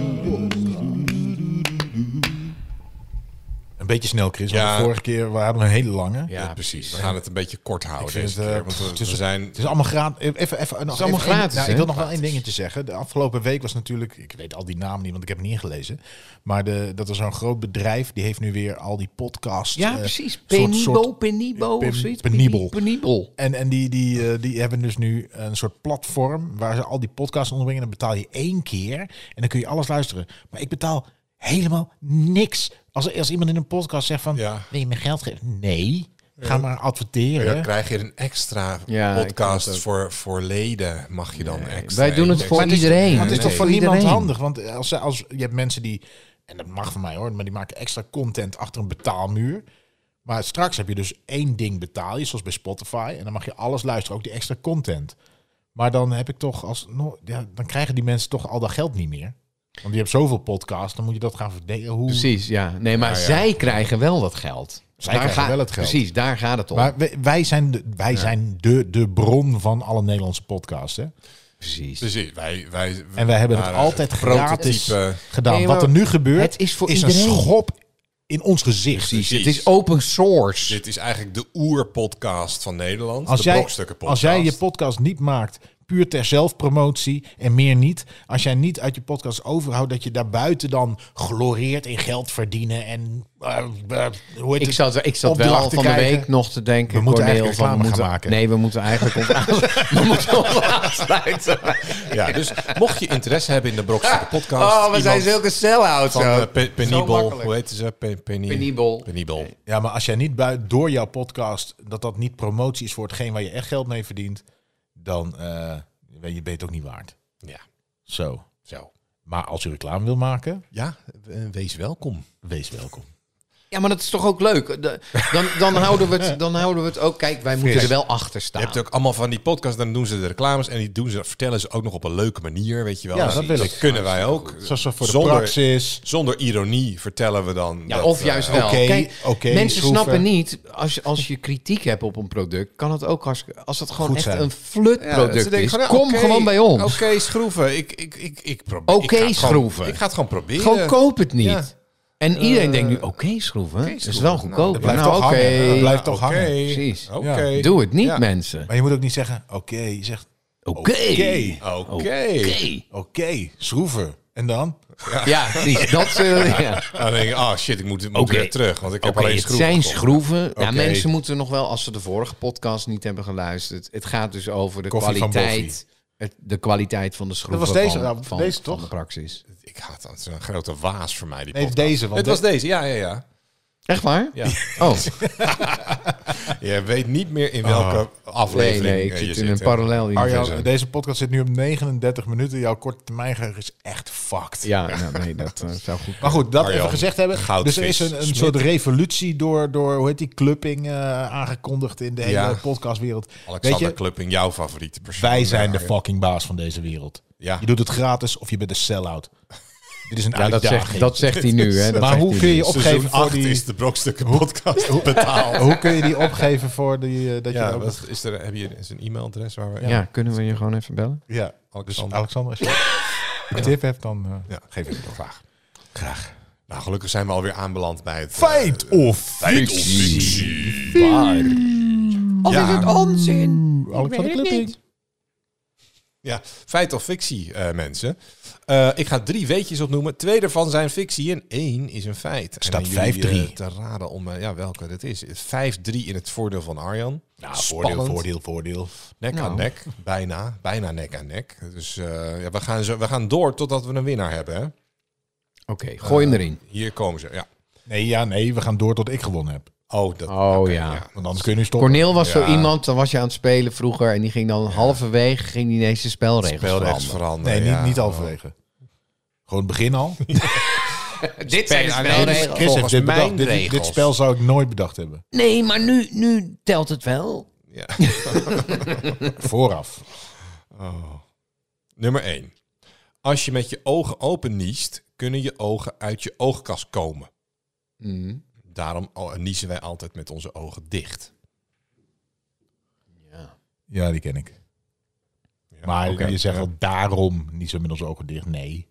C: Een beetje snel, Chris.
B: Ja.
C: Want de vorige keer we hadden we een hele lange.
B: Ja, precies. We gaan het een beetje kort houden.
C: vind
B: Deze
C: het,
B: keer,
C: eh,
B: want we,
C: pff, het is-
B: we zijn.
C: Het is allemaal gratis. Even, even, nog even,
D: allemaal
C: één-
D: gratis,
C: nou, ik
D: hè?
C: wil nog wel één dingetje zeggen. De afgelopen week was natuurlijk, ik weet al die namen niet, want ik heb het niet ingelezen. Maar de, dat was zo'n groot bedrijf, die heeft nu weer al die podcasts.
D: Ja,
C: eh,
D: precies.
C: soort-
D: Penibo,
C: soort-
D: Penibo
C: Pen-
D: of zoiets.
C: Penibel.
D: Penibel.
C: En, en die, die, eh, die hebben dus nu een soort platform waar ze al die podcasts onderbrengen. Dan betaal je één keer en dan kun je alles luisteren. Maar ik betaal helemaal niks. Als, als iemand in een podcast zegt van,
B: Ja.
C: wil je me geld geven? Nee, ga maar adverteren.
B: Dan krijg je een extra
D: Ja, ik vind
B: podcast
D: het
B: voor, voor leden. Mag je dan extra.
D: Wij doen het
B: één
D: voor
B: extra.
D: iedereen.
C: Want het is
B: Nee.
C: toch voor niemand
D: Iedereen.
C: handig? Want eh, als, ze- als, je hebt mensen die, en dat mag van mij hoor, maar die maken extra content achter een betaalmuur. Maar straks heb je dus één ding betaal je, zoals bij Spotify. En dan mag je alles luisteren, ook die extra content. Maar dan heb ik toch als, no- ja, dan krijgen die mensen toch al dat geld niet meer. Want je hebt zoveel podcasts, dan moet je dat gaan verdelen. Hoe...
D: Precies, ja. Nee, maar
B: Ja, ja.
D: zij krijgen wel dat geld.
C: Ah, Zij krijgen wel het geld.
D: Precies, daar gaat het om.
C: Maar wij, wij zijn, de, wij zijn de, de bron van alle Nederlandse podcasts. Hè?
D: precies.
B: Precies. Wij, wij,
C: En wij hebben het
B: maar, eh,
C: altijd gratis
B: prototype.
C: gedaan.
D: Nee,
C: Wat er
D: maar
C: nu gebeurt,
D: het is voor
C: een
D: iedereen.
C: schop in ons gezicht. Dus
D: precies. Het
B: precies.
D: is open source.
B: Dit is eigenlijk de oerpodcast van Nederland.
C: Als
B: de
C: jij,
B: brokstukken
C: als jij je podcast niet maakt puur ter zelfpromotie en meer niet. Als jij niet uit je podcast overhoudt dat je daarbuiten dan gloreert in geld verdienen en eh, eh, hoe heet
D: Ik
C: het?
D: zat, ik zat wel
C: opdrachten
D: van de
C: krijgen.
D: week nog te denken.
C: We moeten
D: Corneel,
C: eigenlijk
D: van,
C: reclame
D: we moeten,
C: gaan maken.
D: Nee, we moeten
C: [laughs]
D: eigenlijk ons aan- we moeten ons aansluiten.
B: ja, dus mocht je interesse hebben in de
D: [laughs]
B: brokstukken podcast.
D: Oh, we zijn
B: iemand
D: zulke sell-outs.
B: van
D: zo.
B: eh, Pe-
D: Zo
B: Penibel.
D: makkelijk.
B: Hoe heet ze? Pe- Peni-
D: Penibel.
B: Penibel.
C: Ja, maar als jij niet bui- door jouw podcast dat dat niet promotie is voor hetgeen waar je echt geld mee verdient, dan eh, ben je ben je het ook niet waard.
B: Ja,
C: Zo.
B: zo.
C: Maar als je reclame wil maken,
B: Ja, eh, wees welkom.
C: wees welkom.
D: Ja, maar dat is toch ook leuk? De- dan, dan, houden we het, dan houden we het ook... Kijk, wij moeten
B: Fris.
D: er wel achter
B: Je
D: staan.
B: hebt ook allemaal van die podcasts, dan doen ze de reclames en die doen ze, vertellen ze ook nog op een leuke manier, weet je wel.
C: Ja, dat wil ik.
B: kunnen wij ook.
C: Zoals we voor de
B: Zonder-
C: praxis.
B: Zonder ironie vertellen we dan.
D: Ja,
B: dat,
D: of
B: eh,
D: juist wel.
C: oké,
D: Kijk,
C: oké,
D: mensen
C: schroeven.
D: snappen niet, als, je- als je kritiek hebt op een product, kan het ook hartstikke... Als het gewoon
C: Goed
D: echt
C: zijn.
D: een flutproduct
B: Ja, ze denken
D: is,
B: van, ja,
D: kom
B: oké,
D: gewoon bij ons.
B: Oké, schroeven. Ik, ik, ik, ik probeer.
D: Oké,
B: ik ga het gewoon-
D: schroeven.
B: ik ga het gewoon proberen.
D: Gewoon koop het niet.
B: eh, Ja. Eh,
D: En iedereen denkt nu, oké schroeven, dat is wel goedkoop.
C: dat
D: Nou,
C: blijft toch
D: oké,
C: hangen. Dat blijft toch
B: Oké.
C: hangen.
D: Precies.
B: Oké.
C: Ja.
D: doe het niet
B: Ja.
D: mensen.
C: Maar je moet ook niet zeggen, oké, je zegt
D: Oké.
C: Oké.
B: Oké.
D: Oké.
C: oké, schroeven. En dan?
D: Ja, precies. Dat zullen [laughs] ja.
B: Dan denk ik, ah shit, ik moet, moet
D: Oké.
B: weer terug, want ik heb
D: Oké,
B: alleen
D: het
B: schroeven.
D: zijn
B: gekocht.
D: schroeven. Ja,
B: Oké.
D: mensen moeten nog wel, als ze de vorige podcast niet hebben geluisterd. Het gaat dus over de
C: Koffie van
D: kwaliteit. het- de kwaliteit van de schroeven.
C: was deze,
D: van,
C: ja,
D: van,
C: deze
D: van
C: toch?
D: de praxis.
B: Ik had dat is een grote waas voor mij die
C: Nee,
B: podcast.
C: deze. Want
B: Het was deze, ja, ja, ja.
D: Echt waar?
B: [laughs] Ja.
D: Oh,
B: Je weet niet meer in welke
D: Oh. nee,
B: aflevering
D: nee. Ik
B: eh, je
D: zit
B: zit.
D: in een
B: hè.
D: parallel
C: Arjan,
D: universum.
C: Oh, deze podcast zit nu op 39 minuten. Jouw korte termijn geheugen is echt fucked.
D: Ja, nou, nee, dat eh, zou goed
C: Maar goed, dat
B: Arjan,
C: even gezegd hebben.
B: goudvis,
C: dus er is een, een
B: Smit.
C: soort revolutie door, door hoe heet die, clubbing eh, aangekondigd in de hele
B: Ja.
C: podcastwereld. Weet
B: Alexander
C: je,
B: Klupping, jouw favoriete persoon.
C: wij zijn de
B: Ja,
C: fucking baas van deze wereld.
B: Ja. [laughs]
C: Je doet het gratis of je bent een sell-out. Dit is een
D: Ja, dat
C: uitdaging.
D: zegt, dat zegt hij nu.
C: [laughs]
D: Hè? Dat
C: Maar
D: zegt
C: hoe
D: hij
C: kun
D: nu.
C: je opgeven
B: Seizoen
C: voor
B: 8
C: die...
B: is de brokstukken podcast betaald.
C: Hoe kun je die opgeven voor die, eh, dat je
B: [laughs] Ja,
C: ook nog-
B: wat is er, heb je is een e-mailadres waar we...
D: Ja. kunnen we je gewoon even bellen?
C: Ja, dus
B: Alexander.
C: Alexander, als je een tip hebt, dan eh,
B: Ja.
C: geef ik het nog graag. Graag.
B: Nou, gelukkig zijn we alweer aanbeland bij het... eh,
C: Feit of feit
B: of fictie.
F: Of
B: Ja.
F: is het onzin?
C: Alexander
F: Ik weet het
C: Klupping.
F: niet.
B: Ja, feit of fictie, eh, mensen. Eh, ik ga drie weetjes opnoemen. Twee daarvan zijn fictie en één is een feit.
C: staat
B: En aan jullie,
C: 5-3.
B: eh, te raden om eh, ja, welke dat is. 5-3 in het voordeel van Arjan.
C: Nou,
B: Spannend.
C: voordeel, voordeel, voordeel.
B: Nek
D: Nou.
B: aan nek. Bijna. Bijna nek aan nek. Dus eh, ja, we, gaan zo, we gaan door totdat we een winnaar hebben. Hè?
D: Oké, gooi hem erin.
B: Hier komen ze. Ja.
C: Nee, ja, nee, we gaan door tot ik gewonnen heb.
B: Oh,
F: Ah.
B: dat,
D: Oh
B: oké,
D: ja.
C: Want anders kun je nu stoppen.
D: Corneel
B: Ja.
D: was zo iemand, dan was je aan het spelen vroeger... en die ging dan halverwege ging die ineens de spelregels
B: Spelregels
D: veranderen.
B: veranderen.
C: nee,
B: ja.
C: niet, niet halverwege. Gewoon het begin al.
D: Dit zijn de
B: Spel- Nee,
D: spelregels.
B: dus-
C: Chris heeft
B: volgens
C: dit bedacht.
B: mijn
C: Dit- Dit, dit
B: regels.
C: spel zou ik nooit bedacht hebben.
A: Nee, maar nu, nu telt het wel.
B: Ja.
C: Vooraf.
B: Oh. Nummer 1. Als je met je ogen open niest, kunnen je ogen uit je oogkas komen.
D: Mhm.
B: Daarom al- niezen wij altijd met onze ogen dicht.
C: Ja, die ken ik.
B: Ja,
C: maar
B: oké.
C: je zegt wel daarom niet zo met onze ogen dicht. Nee.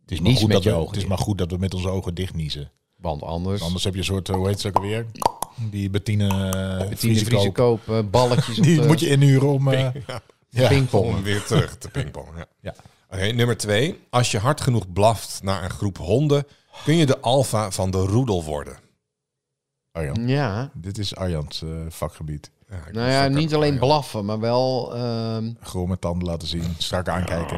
C: Het is, maar
D: Nies
C: goed,
D: met
C: dat
D: je
C: we,
D: ogen
C: het is
D: dicht.
C: maar goed dat we met onze ogen dicht niezen.
D: Want anders...
C: Anders heb je een soort, eh, hoe heet ze ook alweer? Die Bettine, eh,
D: Bettine
C: Friese
D: Vriezen
C: koop. [laughs]
D: kopen, balletjes op
C: Die
D: de
C: moet je inhuren om... eh, ja.
D: pingpong.
B: Om weer terug te pingpongen. Ja.
C: Ja.
B: Oké, nummer 2. Als je hard genoeg blaft naar een groep honden, kun je de alfa van de roedel worden.
C: Arjan.
D: Ja,
C: Dit is Arjans eh, vakgebied.
B: Ja, ik
D: nou
B: moest
D: ja,
B: ook
D: niet
B: even-
D: alleen blaffen, maar wel... ehm,
C: Gromme tanden laten zien, strak aankijken.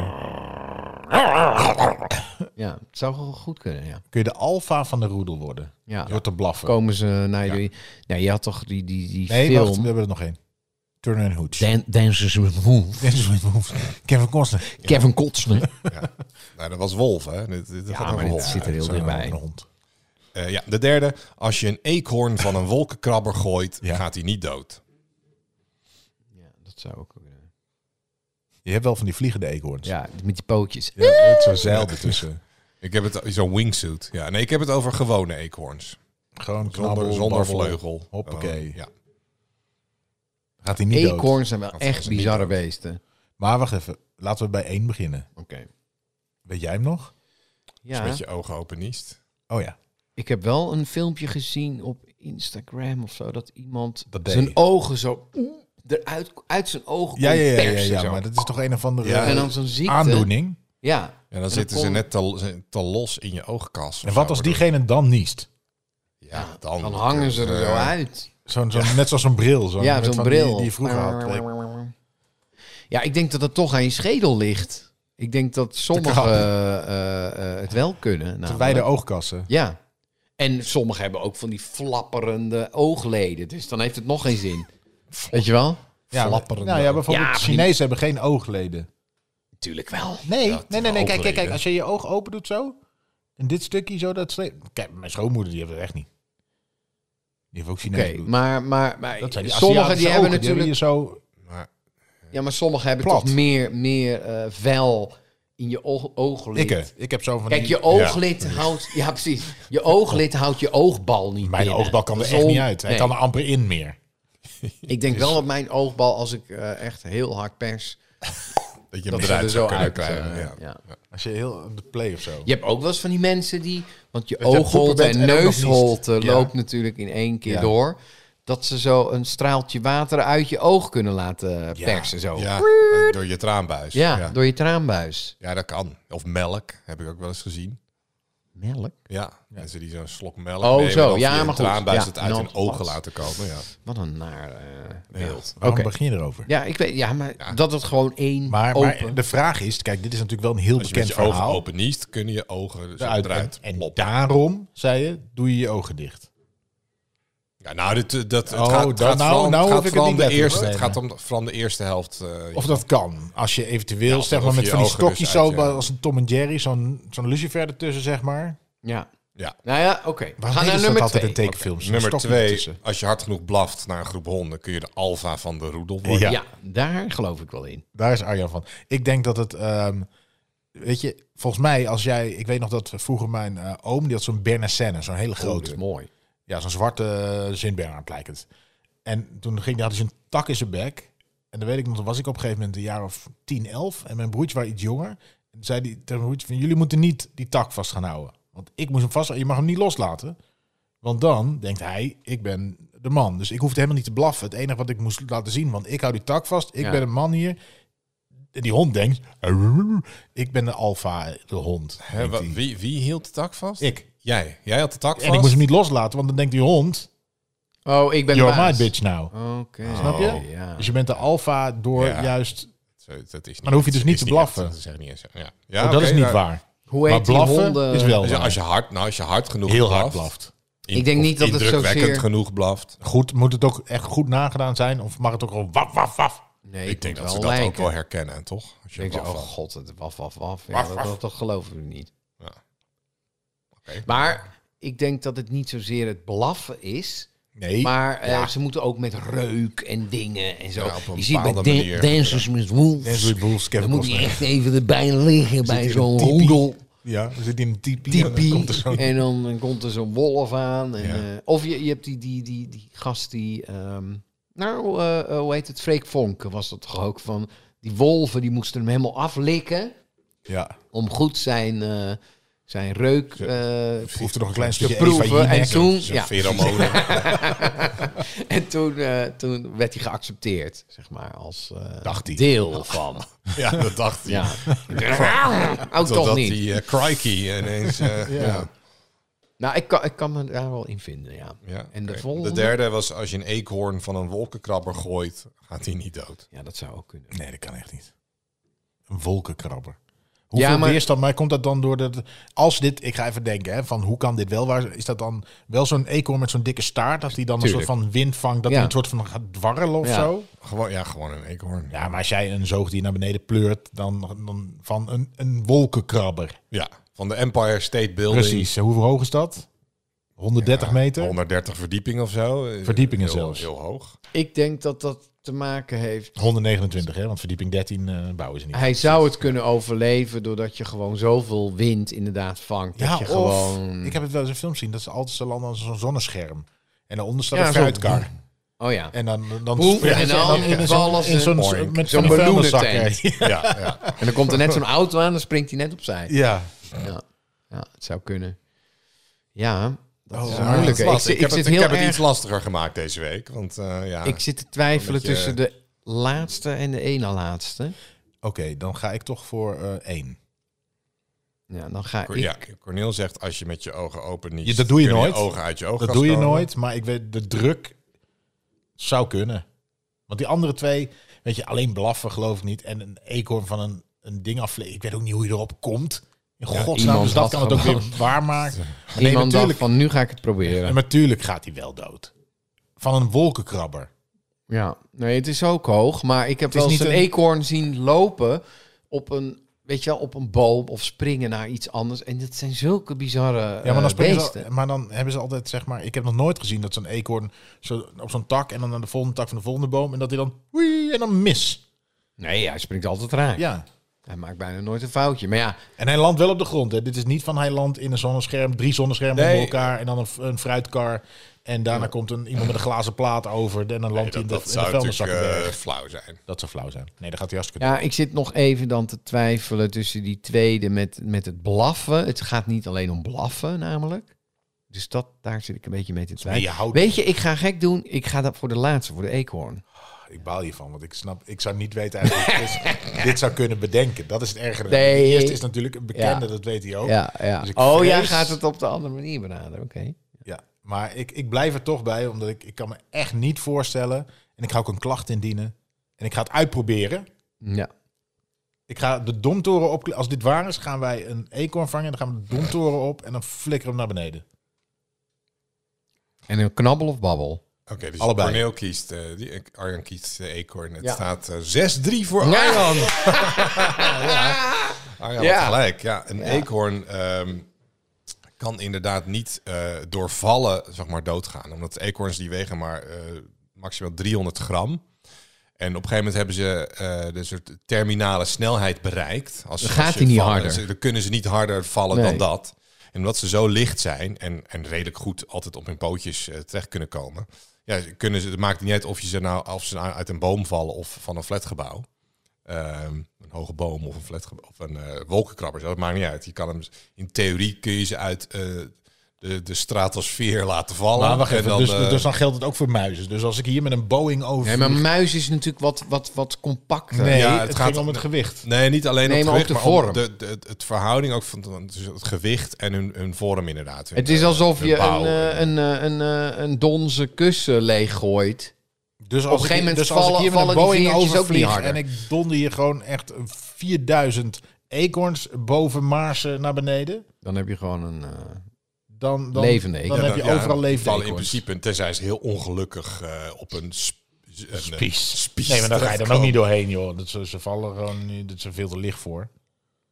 D: ja, het zou gewoon goed kunnen, ja.
C: Kun je de alfa van de roedel worden?
D: ja.
C: Door te blaffen.
D: Komen ze naar je... Nou, je had toch die, die, die
C: nee,
D: film...
C: wacht, eh, we hebben er nog één. Turner en Hooch.
A: Dan Dancers with Wolves.
C: [laughs] Dit is wat je hoeft. Kevin Costner.
A: Kevin Kotsner.
B: Nou, dat was wolf, hè? Dit, dit gaat
D: ja,
B: over
D: maar dit
B: wolf.
D: zit er heel
C: Zo'n
D: dichtbij.
C: hond.
B: Eh, ja, de derde. Als je een eekhoorn van een wolkenkrabber gooit,
C: Ja.
B: gaat hij niet dood.
D: Ja, dat zou ook kunnen.
C: Je hebt wel van die vliegende eekhoorns.
D: Ja, met die pootjes.
C: Ja, met zo'n zeil ertussen.
B: Ik heb het zo'n wingsuit. Ja, nee, ik heb het over gewone eekhoorns.
C: Gewoon
B: Zonder,
C: knabbel,
B: zonder
C: babbel.
B: vleugel.
C: Hoppakee.
B: Gewoon, ja.
C: Gaat hij niet dood.
D: Eekhoorns zijn wel
B: Dat
D: echt
B: zijn niet
D: bizarre
B: dood.
D: beesten.
C: Maar wacht even. Laten we bij één beginnen.
D: Oké.
C: Weet jij hem nog?
B: Dus
D: Ja,
B: met je ogen open niest.
C: Oh ja.
D: ik heb wel een filmpje gezien op Instagram of zo dat iemand
C: Dat deed hij.
D: zijn ogen zo eruit uit zijn ogen kon
C: Ja, ja, ja, ja,
D: persen
C: ja,
D: zo.
C: maar dat is toch een of andere
B: Ja.
D: en dan zo'n ziekte.
C: aandoening.
D: Ja. En
B: En dan zitten ze
D: kon-
B: net te, te los in je oogkas.
C: En wat als diegene dan niest?
B: Ja, dan, Eh,
D: Dan hangen ze er zo uit.
C: Zo'n, zo'n, Net zoals zo'n bril. eh, Zo'n,
D: ja,
C: met
D: zo'n
C: van die-
D: bril. Nou,
C: Die, je vroeger had. eh,
D: Ja, ik denk dat het toch aan je schedel ligt. Ik denk dat sommigen
C: krabben.
D: eh, eh, eh, het wel kunnen.
C: Te
D: namelijk.
C: wijde oogkassen.
D: Ja. En sommigen hebben ook van die flapperende oogleden. Dus dan heeft het nog geen zin. Weet je wel?
C: Ja,
B: Flapperende
C: nou ja, bijvoorbeeld
D: Ja, maar die-
C: Chinezen hebben geen oogleden.
D: Natuurlijk wel.
C: Nee,
B: Ja,
C: nee, nee, nee. Kijk,
B: oogleden.
C: kijk, kijk. Als je je oog open doet zo. En dit stukje zo. Dat sle- Kijk, mijn schoonmoeder die heeft het echt niet. Die heeft ook
D: Oké,
C: Chinezen. bloed.
D: maar, maar, maar
C: dat zijn die
D: sommigen die
C: Aziatische
D: hebben
C: ogen,
D: natuurlijk...
C: Die hebben je zo
B: Maar,
D: ja, maar sommigen hebben
C: plat.
D: toch meer, meer eh, vel in je oog,
C: Ik,
D: ooglid.
C: eh, ik heb zo van
D: Kijk,
C: die-
D: je ooglid houdt... Ja, precies. Je ooglid houdt je oogbal niet
C: Mijn
D: binnen.
C: oogbal kan er echt
D: Zon-
C: niet uit. Hij
D: Nee.
C: kan er amper in meer.
D: Ik denk wel dat mijn oogbal, als ik eh, echt heel hard pers...
B: dat je hem
D: dat ze
B: eruit
D: er zo
B: zou kunnen
D: uit...
B: krijgen.
D: eh,
B: ja.
D: ja.
C: Als je heel de play of zo.
D: Je hebt ook wel eens van die mensen die... Want je
C: Dat je aan het
D: oogholte
C: poepen
D: en
C: bent en ook nog
D: neusholte
C: niest. Ja.
D: loopt natuurlijk in één keer
C: Ja.
D: door. Dat ze zo een straaltje water uit je oog kunnen laten
C: Ja.
D: persen. Zo. Ja.
B: Ja, oh, door je traanbuis. ja.
D: door je traanbuis.
B: Ja, dat kan. Of melk, heb ik ook wel eens gezien.
D: Melk?
B: Ja, mensen die zo'n slok melk
D: Oh,
B: nemen...
D: zo.
B: en dan
D: Ja,
B: via
D: maar
B: een
D: goed.
B: traanbuis
D: Ja,
B: het uit
D: nou,
B: hun ogen
D: wat.
B: laten komen. Ja.
D: Wat een naar eh, beeld. Oké.
C: Waarom begin je erover?
D: Ja, ik weet... Ja, maar dat het gewoon één
C: Maar,
D: open...
C: maar de vraag is, kijk, dit is natuurlijk wel een heel
B: Als je met
C: bekend
B: je
C: verhaal.
B: ogen open niest, kunnen je ogen zo
C: Eruit.
B: eruit.
C: En, en
B: ploppen.
C: daarom, zei je, doe je je ogen dicht.
B: Ja, nou, dit, eh, dat, het
C: Oh,
B: gaat, het
C: dan-
B: gaat
C: nou-
B: vooral,
C: nou
B: het gaat
C: hoef ik het
B: vooral
C: niet
B: de
C: letterlijk
B: eerste,
C: te
B: het
C: nemen.
B: gaat om de- vooral de eerste helft. eh,
C: Of dat kan. Als je eventueel,
B: Ja,
C: zeg
B: of
C: maar, met
B: je
C: van die
B: ogen dus
C: stokjes
B: uit,
C: zo,
B: ja.
C: als een Tom en Jerry, zo'n zo'n lucifer ertussen, zeg maar.
D: Ja.
B: Ja.
D: Nou ja, oké. We
C: Waarom
D: gaan
C: deden
D: naar
C: ze dat
D: nummer
C: altijd
D: twee.
C: in tekenfilms? Zo'n
B: nummer
C: stokje
B: twee,
C: ertussen.
B: als je hard genoeg blaft naar een groep honden, kun je de alfa van de roedel
C: Ja.
B: worden.
D: Ja, daar geloof ik wel in.
C: Daar is Arjan van. Ik denk dat het ehm, Weet je, volgens mij als jij... Ik weet nog dat vroeger mijn eh, oom, die had zo'n Bernascene. Zo'n hele
D: Oh, dat
C: grote.
D: is mooi.
C: Ja, zo'n zwarte Sint-Bernard lijkt het. En toen ging, had hij zo'n tak in zijn bek. En dan weet ik nog, toen was ik op een gegeven moment een jaar of 10, 11. En mijn broertje was iets jonger. En toen zei die tegen mijn broertje van, jullie moeten niet die tak vast gaan houden. Want ik moest hem vast, je mag hem niet loslaten. Want dan denkt hij, ik ben de man. Dus ik hoefde helemaal niet te blaffen. Het enige wat ik moest laten zien, want ik hou die tak vast. Ik
D: Ja.
C: ben een man hier. En die hond denkt, "Arr, ik ben de alfa, de hond.
B: Hè,
C: denkt
B: wa-
C: hij.
B: wie, wie hield de tak vast?
C: Ik.
B: Jij. Jij had de tak vast.
C: En ik moest hem niet loslaten, want dan denkt die hond,
D: Oh, ik ben de
C: you're my
D: baas.
C: bitch now.
D: Oké.
C: Snap je?
D: Ja.
C: Dus je bent de alfa door
B: Ja.
C: juist...
B: Zo, dat is niet
C: Maar dan hoef je dus
B: is
C: niet te blaffen.
B: echt. Dat is echt niet eens. Ja. Ja,
C: Oh, dat
B: oké,
C: is niet
B: nou,
C: waar.
D: Hoe
C: Maar
D: heet die
C: blaffen
D: honden?
C: is wel
B: als je-
C: waar.
B: als je hard, nou, als je hard genoeg
C: heel
B: blaft,
C: hard blaft.
B: in-
D: Ik denk
B: of
D: niet dat het
B: indrukwekkend
D: zozeer-
B: genoeg blaft.
C: Goed, moet het ook echt goed nagedaan zijn? Of mag het ook gewoon waf, waf, waf?
D: Nee,
B: Ik denk dat ze
D: wel
B: dat
D: lijken.
B: ook wel herkennen, toch? Als je
D: Ik denk
B: blaft
D: zo, oh
B: valt.
D: god, het waf, waf, waf. Ja,
B: Waf,
D: dat,
B: waf.
D: dat, dat geloven we niet.
B: Ja. Oké.
D: Maar ik denk dat het niet zozeer het blaffen is.
C: Nee.
D: Maar eh, ze moeten ook met reuk en dingen en zo.
B: Ja, op een
D: je ziet bij
B: bepaalde
D: Dan-
B: manier.
D: Dancers with
C: Dance
D: Wolves.
C: with Wolves, Kevin
D: Dan moet je
C: Costner.
D: echt even erbij liggen bij
C: in
D: zo'n
C: een tipi.
D: roedel.
C: Ja, we zitten in een tipi. en dan
D: Tipi.
C: komt er zo'n-
D: En dan, dan komt er zo'n wolf aan. En,
B: Ja.
D: eh, of je, je hebt die, die, die, die gast die... ehm, nou, eh, eh, hoe heet het? Freek Vonken was dat toch ook? Van die wolven, die moesten hem helemaal aflikken...
C: Ja,
D: om goed zijn, eh, zijn reuk eh, [laughs]
C: proeft er nog een klein
D: te
C: stukje Eva
D: proeven.
C: Jinek.
D: En toen,
B: Zo'n
D: ja,
B: [laughs] pheromonen.
D: en toen, eh, toen werd hij geaccepteerd, zeg maar, als eh,
C: Dacht hij.
D: deel van.
B: ja, dat dacht hij.
D: Ja. [laughs] Oh, toch
B: Totdat
D: niet.
B: die eh, crikey ineens...
D: [laughs]
B: eh, ja.
D: Nou, ik kan, ik kan me daar wel in vinden, ja.
B: Ja,
D: En de
B: oké.
D: volgende?
B: derde was als je een eekhoorn van een wolkenkrabber gooit, gaat hij niet dood.
D: Ja, dat zou ook kunnen.
C: Nee, dat kan echt niet. Een wolkenkrabber. Hoeveel
D: Ja, maar-
C: weerstand, maar komt dat dan door dat... Als dit, ik ga even denken, hè, van hoe kan dit wel waar? Is dat dan wel zo'n eekhoorn met zo'n dikke staart? Als die dan
D: Tuurlijk.
C: een soort van wind vangt, dat hij
D: Ja.
C: een soort van gaat dwarrelen of
D: Ja.
C: zo?
B: Gewoon, ja, gewoon een eekhoorn.
C: Ja, maar als jij een zoogdier naar beneden pleurt, dan, dan van een, een wolkenkrabber.
B: Ja, van de Empire State Building.
C: Precies. Hoe hoog is dat? 130 meter?
B: 130 verdieping of zo. Eh,
C: Verdiepingen
B: heel,
C: zelfs.
B: Heel hoog.
D: Ik denk dat dat te maken
C: Oh,
D: heeft...
C: 129, hè? Want verdieping 13 eh, bouwen ze niet.
D: Hij zou het kunnen overleven doordat je gewoon zoveel wind inderdaad vangt.
C: ja,
D: dat je
C: of,
D: gewoon...
C: ik heb het wel eens in films zien, dat ze altijd zo landen als zo'n zonnescherm. En daaronder staat
D: Ja,
C: een
D: zo.
C: fruitkar.
D: Oh ja.
C: En dan, dan,
D: Boem,
C: ja,
D: en dan vallen ze.
C: in zo'n
B: Boink.
C: met
D: Zo'n
C: zo'n vuilniszakken.
D: balloenentent.
B: Ja, ja.
D: En dan komt er net zo'n auto aan, dan springt hij net opzij.
C: Ja.
D: Ja, ja het zou kunnen. Ja, [laughs] dat
C: Oh,
D: is
C: ja,
D: een moeilijke.
B: Dat
D: Ik,
B: is lastig.
D: zit-
B: ik,
D: ik,
B: heb,
D: zit
B: het, ik
D: heel
B: heb het
D: erg,
B: iets lastiger gemaakt deze week. Want eh, ja,
D: ik zit te twijfelen
B: Omdat je-
D: tussen de laatste en de ene laatste.
C: Oké, dan ga ik toch voor eh één.
D: Ja, dan ga ik...
B: ja, Cornel zegt als je met je ogen open niet...
C: Ja, dat doe je nooit.
B: ogen uit je ogen
C: Dat doe je nooit, maar ik weet, de druk zou kunnen. Want die andere twee, weet je, alleen blaffen geloof ik niet. En een eekhoorn van een, een ding aflezen. Ik weet ook niet hoe je erop komt. In godsnaam,
D: iemand
C: dus dat
D: had
C: kan het ook weer
D: gewoon- [laughs]
C: waarmaken. Nee,
D: Iemand dacht
C: natuurlijk,
D: van, nu ga ik het proberen.
C: en natuurlijk gaat hij wel dood. Van een wolkenkrabber.
D: Ja, nee, het is ook hoog. Maar ik heb
C: is
D: wel eens
C: niet
D: een
C: een-
D: eekhoorn zien lopen op een... Weet je wel, op een boom of springen naar iets anders. En dat zijn zulke bizarre
C: Ja, maar dan,
D: eh,
C: springen ze,
D: beesten.
C: al- maar dan hebben ze altijd, zeg maar... Ik heb nog nooit gezien dat zo'n eekhoorn zo, op zo'n tak... en dan aan de volgende tak van de volgende boom... en dat hij dan... Wee, en dan mis.
D: Nee, hij springt altijd raak.
C: Ja.
D: Hij maakt bijna nooit een foutje. Maar ja,
C: En hij landt wel op de grond. Hè. Dit is niet van hij landt in een zonnescherm, drie zonneschermen
B: Nee.
C: onder elkaar en dan een, een fruitkar. En daarna komt een, iemand met een glazen plaat over. En dan
B: Nee,
C: landt hij
B: dat,
C: in de,
B: dat
C: in de
B: zou natuurlijk
C: vuilniszakkenberg.
B: eh, flauw zijn.
C: dat zou flauw zijn. Nee, dat gaat hij hartstikke
D: Ja, ik zit nog even dan te twijfelen tussen die tweede met, met het blaffen. Het gaat niet alleen om blaffen, namelijk. Dus dat, daar zit ik een beetje mee te
C: doen. Nee, je
D: twijfelen.
C: houdt
D: Weet je, ik ga gek doen. Ik ga dat voor de laatste, voor de eekhoorn.
C: Ik baal hiervan, want ik snap, ik zou niet weten eigenlijk of [laughs] Chris dit zou kunnen bedenken. Dat is het ergere.
D: Nee.
C: De eerste is natuurlijk een bekende,
D: Ja.
C: dat weet hij ook. Ja.
D: Ja, ja.
C: Dus ik
D: oh,
C: vrees-
D: jij gaat het op de andere manier benaderen. Oké.
C: Maar ik, ik blijf er toch bij, omdat ik, ik kan me echt niet voorstellen. En ik ga ook een klacht indienen. En ik ga het uitproberen.
D: Ja.
C: Ik ga de domtoren op. Als dit waar is, gaan wij een eekhoorn vangen. Dan gaan we de domtoren op en dan flikkeren we hem naar beneden.
D: En een knabbel of babbel?
B: Oké, dus
C: Allebei.
B: Cornel kiest, eh, die, Arjan kiest de eekhoorn. Het
D: Ja.
B: staat eh, 6-3 voor
D: Ja.
B: Arjan. Arjan
D: Ja.
B: had gelijk. Ah Ja, een eekhoorn ehm, kan inderdaad niet eh, door vallen zeg maar, doodgaan. Omdat eekhoorns die wegen maar eh, maximaal 300 gram. En op een gegeven moment hebben ze eh, de soort terminale snelheid bereikt. Als,
D: Dan
B: als
D: gaat
B: je
D: hij niet
B: vallen,
D: harder.
B: ze- Dan kunnen ze niet harder vallen
D: Nee.
B: dan dat. En omdat ze zo licht zijn en, en redelijk goed altijd op hun pootjes eh, terecht kunnen komen. Ja, ze kunnen ze, het maakt niet uit of, je ze nou, of ze nou uit een boom vallen of van een flatgebouw. Ehm, een hoge boom of een, flatgebouw, of een eh, wolkenkrabber. Dat maakt niet uit. Je kan hem, in theorie kun je ze uit eh, de, de stratosfeer laten vallen.
C: Maar wacht
B: En
C: even, dus,
B: eh,
C: dus dan geldt het ook voor muizen. Dus als ik hier met een Boeing over...
D: Nee, maar muis is natuurlijk wat, wat, wat compacter.
C: nee
B: Ja,
C: het,
B: het
C: gaat
B: gaat-
C: ging om het gewicht.
B: Nee, niet alleen
D: Nee,
B: op het
D: maar
B: gewicht,
D: ook de
B: maar ook
D: vorm.
B: de, de, het- het verhouding ook van van tussen het gewicht en hun, hun vorm inderdaad. Hun,
D: Het is
B: eh,
D: alsof
B: hun
D: je
B: bouw.
D: een, eh, een, eh, een, eh, een donze kussen leeggooit.
C: Dus als
D: Op een
C: ik-
D: gegeven moment
C: dus als
D: vallen-
C: ik hier met
D: vallen
C: een
D: die
C: Boeing
D: vingertjes ook niet
C: overvlieg
D: harder.
C: en ik donder hier gewoon echt 4000 eekhoorns boven Maarsen naar beneden,
D: Dan heb je gewoon een... eh,
C: dan, dan,
D: Levende
C: dan
D: eekhoorns.
B: Ja,
C: heb je
B: ja,
C: overal levende
B: vallen in
C: eekhoorns.
B: principe, tenzij ze heel ongelukkig eh, op een, sp- een eh,
C: Spies.
B: spies
C: Nee, maar daar ga je dan ook
B: terechtkomen.
C: niet doorheen, joh. Dat ze, ze vallen gewoon niet, dat ze veel te licht voor.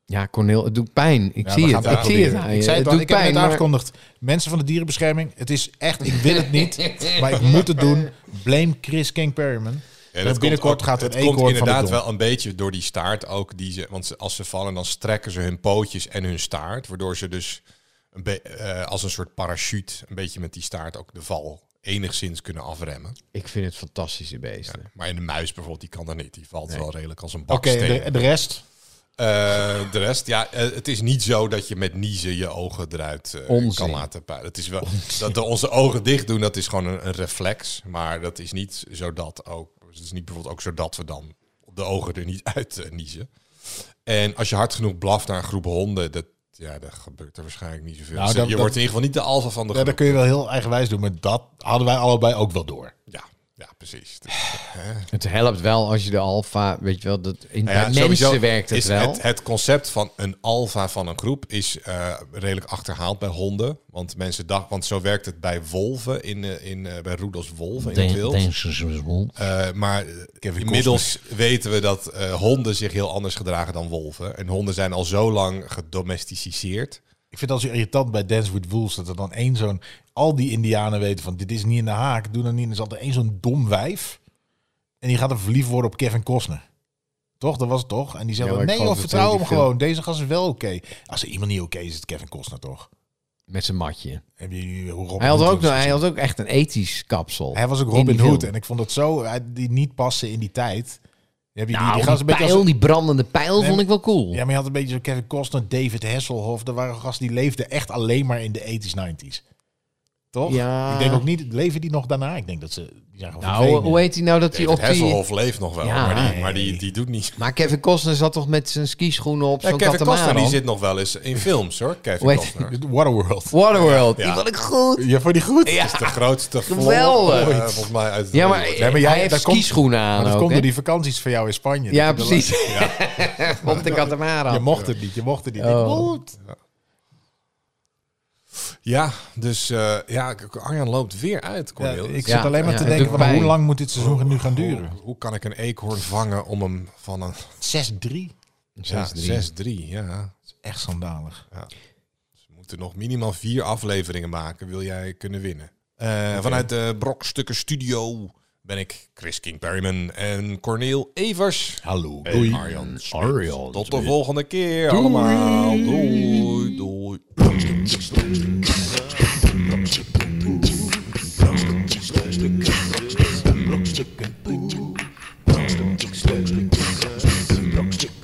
D: Ja, Cornel, het doet pijn. Ik
C: Ja, we
D: zie
C: gaan
D: het. Ik zie het
C: proberen.
D: aan je.
C: Ik zei het,
D: het
C: al,
D: doet
C: ik heb
D: pijn,
C: net
D: maar-
C: aangekondigd. Mensen van de dierenbescherming, het is echt, ik wil het [laughs] niet, maar ik moet het doen. Blame Chris King Perryman.
B: En
C: En
B: dat
C: binnenkort
B: komt ook-
C: gaat er
B: het
C: een
B: komt
C: eekhoorn van de
B: inderdaad
C: grond.
B: wel een beetje door die staart ook. Die ze, want ze, als ze vallen, dan strekken ze hun pootjes en hun staart. Waardoor ze dus een be- eh, als een soort parachute een beetje met die staart ook de val enigszins kunnen afremmen.
D: Ik vind het fantastische beesten.
B: Maar in de muis bijvoorbeeld, die kan dat niet. Die valt wel redelijk als een
C: Oké,
B: baksteen.
C: de, de rest?
B: Eh, de rest, ja, eh, het is niet zo dat je met niezen je ogen eruit eh,
D: Onzin.
B: kan laten puilen. Het is wel dat we onze ogen dicht doen, dat is gewoon een, een reflex. Maar dat is niet zo dat ook. Het is niet bijvoorbeeld ook zo dat we dan de ogen er niet [laughs] uit eh, niezen. En als je hard genoeg blaft naar een groep honden, dat, ja, dan gebeurt er waarschijnlijk niet zoveel.
C: Nou,
B: Dus
C: dat-
B: je
C: dat-
B: wordt in ieder geval niet de alfa van de
C: Ja,
B: groep.
C: dat kun je wel heel eigenwijs doen, maar dat hadden wij allebei ook wel door.
B: Ja, ja, precies. Dus-
D: Het helpt wel als je de alfa, weet je wel, dat in,
B: Nou ja,
D: bij
B: sowieso
D: mensen werkt het
B: is
D: wel.
B: Het, het concept van een alfa van een groep is eh, redelijk achterhaald bij honden. Want mensen dachten, want zo werkt het bij wolven in, eh, in eh, bij Roedels wolven in het wild. Eh, maar eh, inmiddels weten we dat eh, honden zich heel anders gedragen dan wolven. En honden zijn al zo lang gedomesticeerd.
C: Ik vind het al zo irritant bij Dance with Wolves dat er dan één zo'n... Al die indianen weten van, dit is niet in de haak, doe dan niet. Er is altijd één zo'n dom wijf. En die gaat dan verliefd worden op Kevin Costner. Toch? Dat was het toch? En die zei
D: Ja,
C: dan,
D: maar ik
C: nee
D: geloof
C: joh,
D: het
C: vertrouw
D: heel
C: hem
D: die film.
C: gewoon. Deze gast is wel oké. Als er iemand niet oké is, is het Kevin Costner toch?
D: Met zijn matje.
C: Heb je hoe Robin
D: Hij had,
C: Hood
D: ook,
C: was
D: hij
C: gezien?
D: had ook echt een ethisch kapsel.
C: Hij was ook
D: in die
C: Robin
D: film.
C: Hood. En ik vond dat zo, hij- die niet passen in die tijd. Dan Heb je die,
D: Nou,
C: die
D: die,
C: gast een beetje als-
D: pijl, die brandende pijl
C: Nee,
D: vond ik wel cool.
C: Ja, maar je had een beetje zo Kevin Costner, David Hasselhoff. Er waren gasten die leefden echt alleen maar in de 80s, 90s. Toch?
D: Ja.
C: Ik denk ook niet, leven die nog daarna? Ik denk dat ze, die zijn gewoon
D: nou,
C: verdwenen.
D: hoe heet hij nou dat hij
B: David
D: op die...
B: Hasselhoff leeft nog wel,
D: Ja.
B: maar, die, maar die, die doet niet.
D: Maar Kevin Costner zat toch met zijn skischoenen op
B: Ja,
D: zo'n
B: Kevin Costner die
D: katamaran?
B: zit nog wel eens in films hoor. Kevin
D: Hoe heet-
B: Costner.
C: Waterworld.
D: Waterworld, die
B: Ja.
D: vond ik goed.
C: Ja, voor die goed.
D: Ja,
B: Dat is de grootste flop
D: Geweldig.
B: eh, volgens mij uit
D: ja maar,
B: Hollywood.
C: Nee, maar jij-
D: hij heeft
C: dat komt-
D: skischoenen aan
C: Maar dat
D: ook,
C: komt
D: hè?
C: door die vakanties van jou in Spanje.
D: nou, Ja,
C: Dat je-
D: precies. [laughs] op de katamaran.
C: Je mocht het niet, je mocht het niet.
D: Oh.
C: Goed.
B: Ja, dus eh, ja, Arjan loopt weer uit,
C: Ja,
B: Cornel.
C: ik zit
D: Ja,
C: alleen maar
D: ja,
C: te
D: het
C: denken,
D: doet
C: van, hoe
D: pijn.
C: lang moet dit seizoen nu gaan duren?
B: Hoe, hoe kan ik een eekhoorn vangen om hem van een
C: 6-3.
B: ja, 6-3?
D: 6-3.
B: Ja,
C: Echt schandalig.
B: ze moeten nog minimaal vier afleveringen maken, wil jij kunnen winnen. Eh, Vanuit de Brokstukken Studio ben ik Chris King Perryman en Corneel Evers.
C: Hallo.
B: En
C: doei.
B: Arjan. Smit. Tot de volgende keer allemaal. Doei, doei.
E: Brokstukken poe. Brokstukken poe. Brokstukken poe. Brokstukken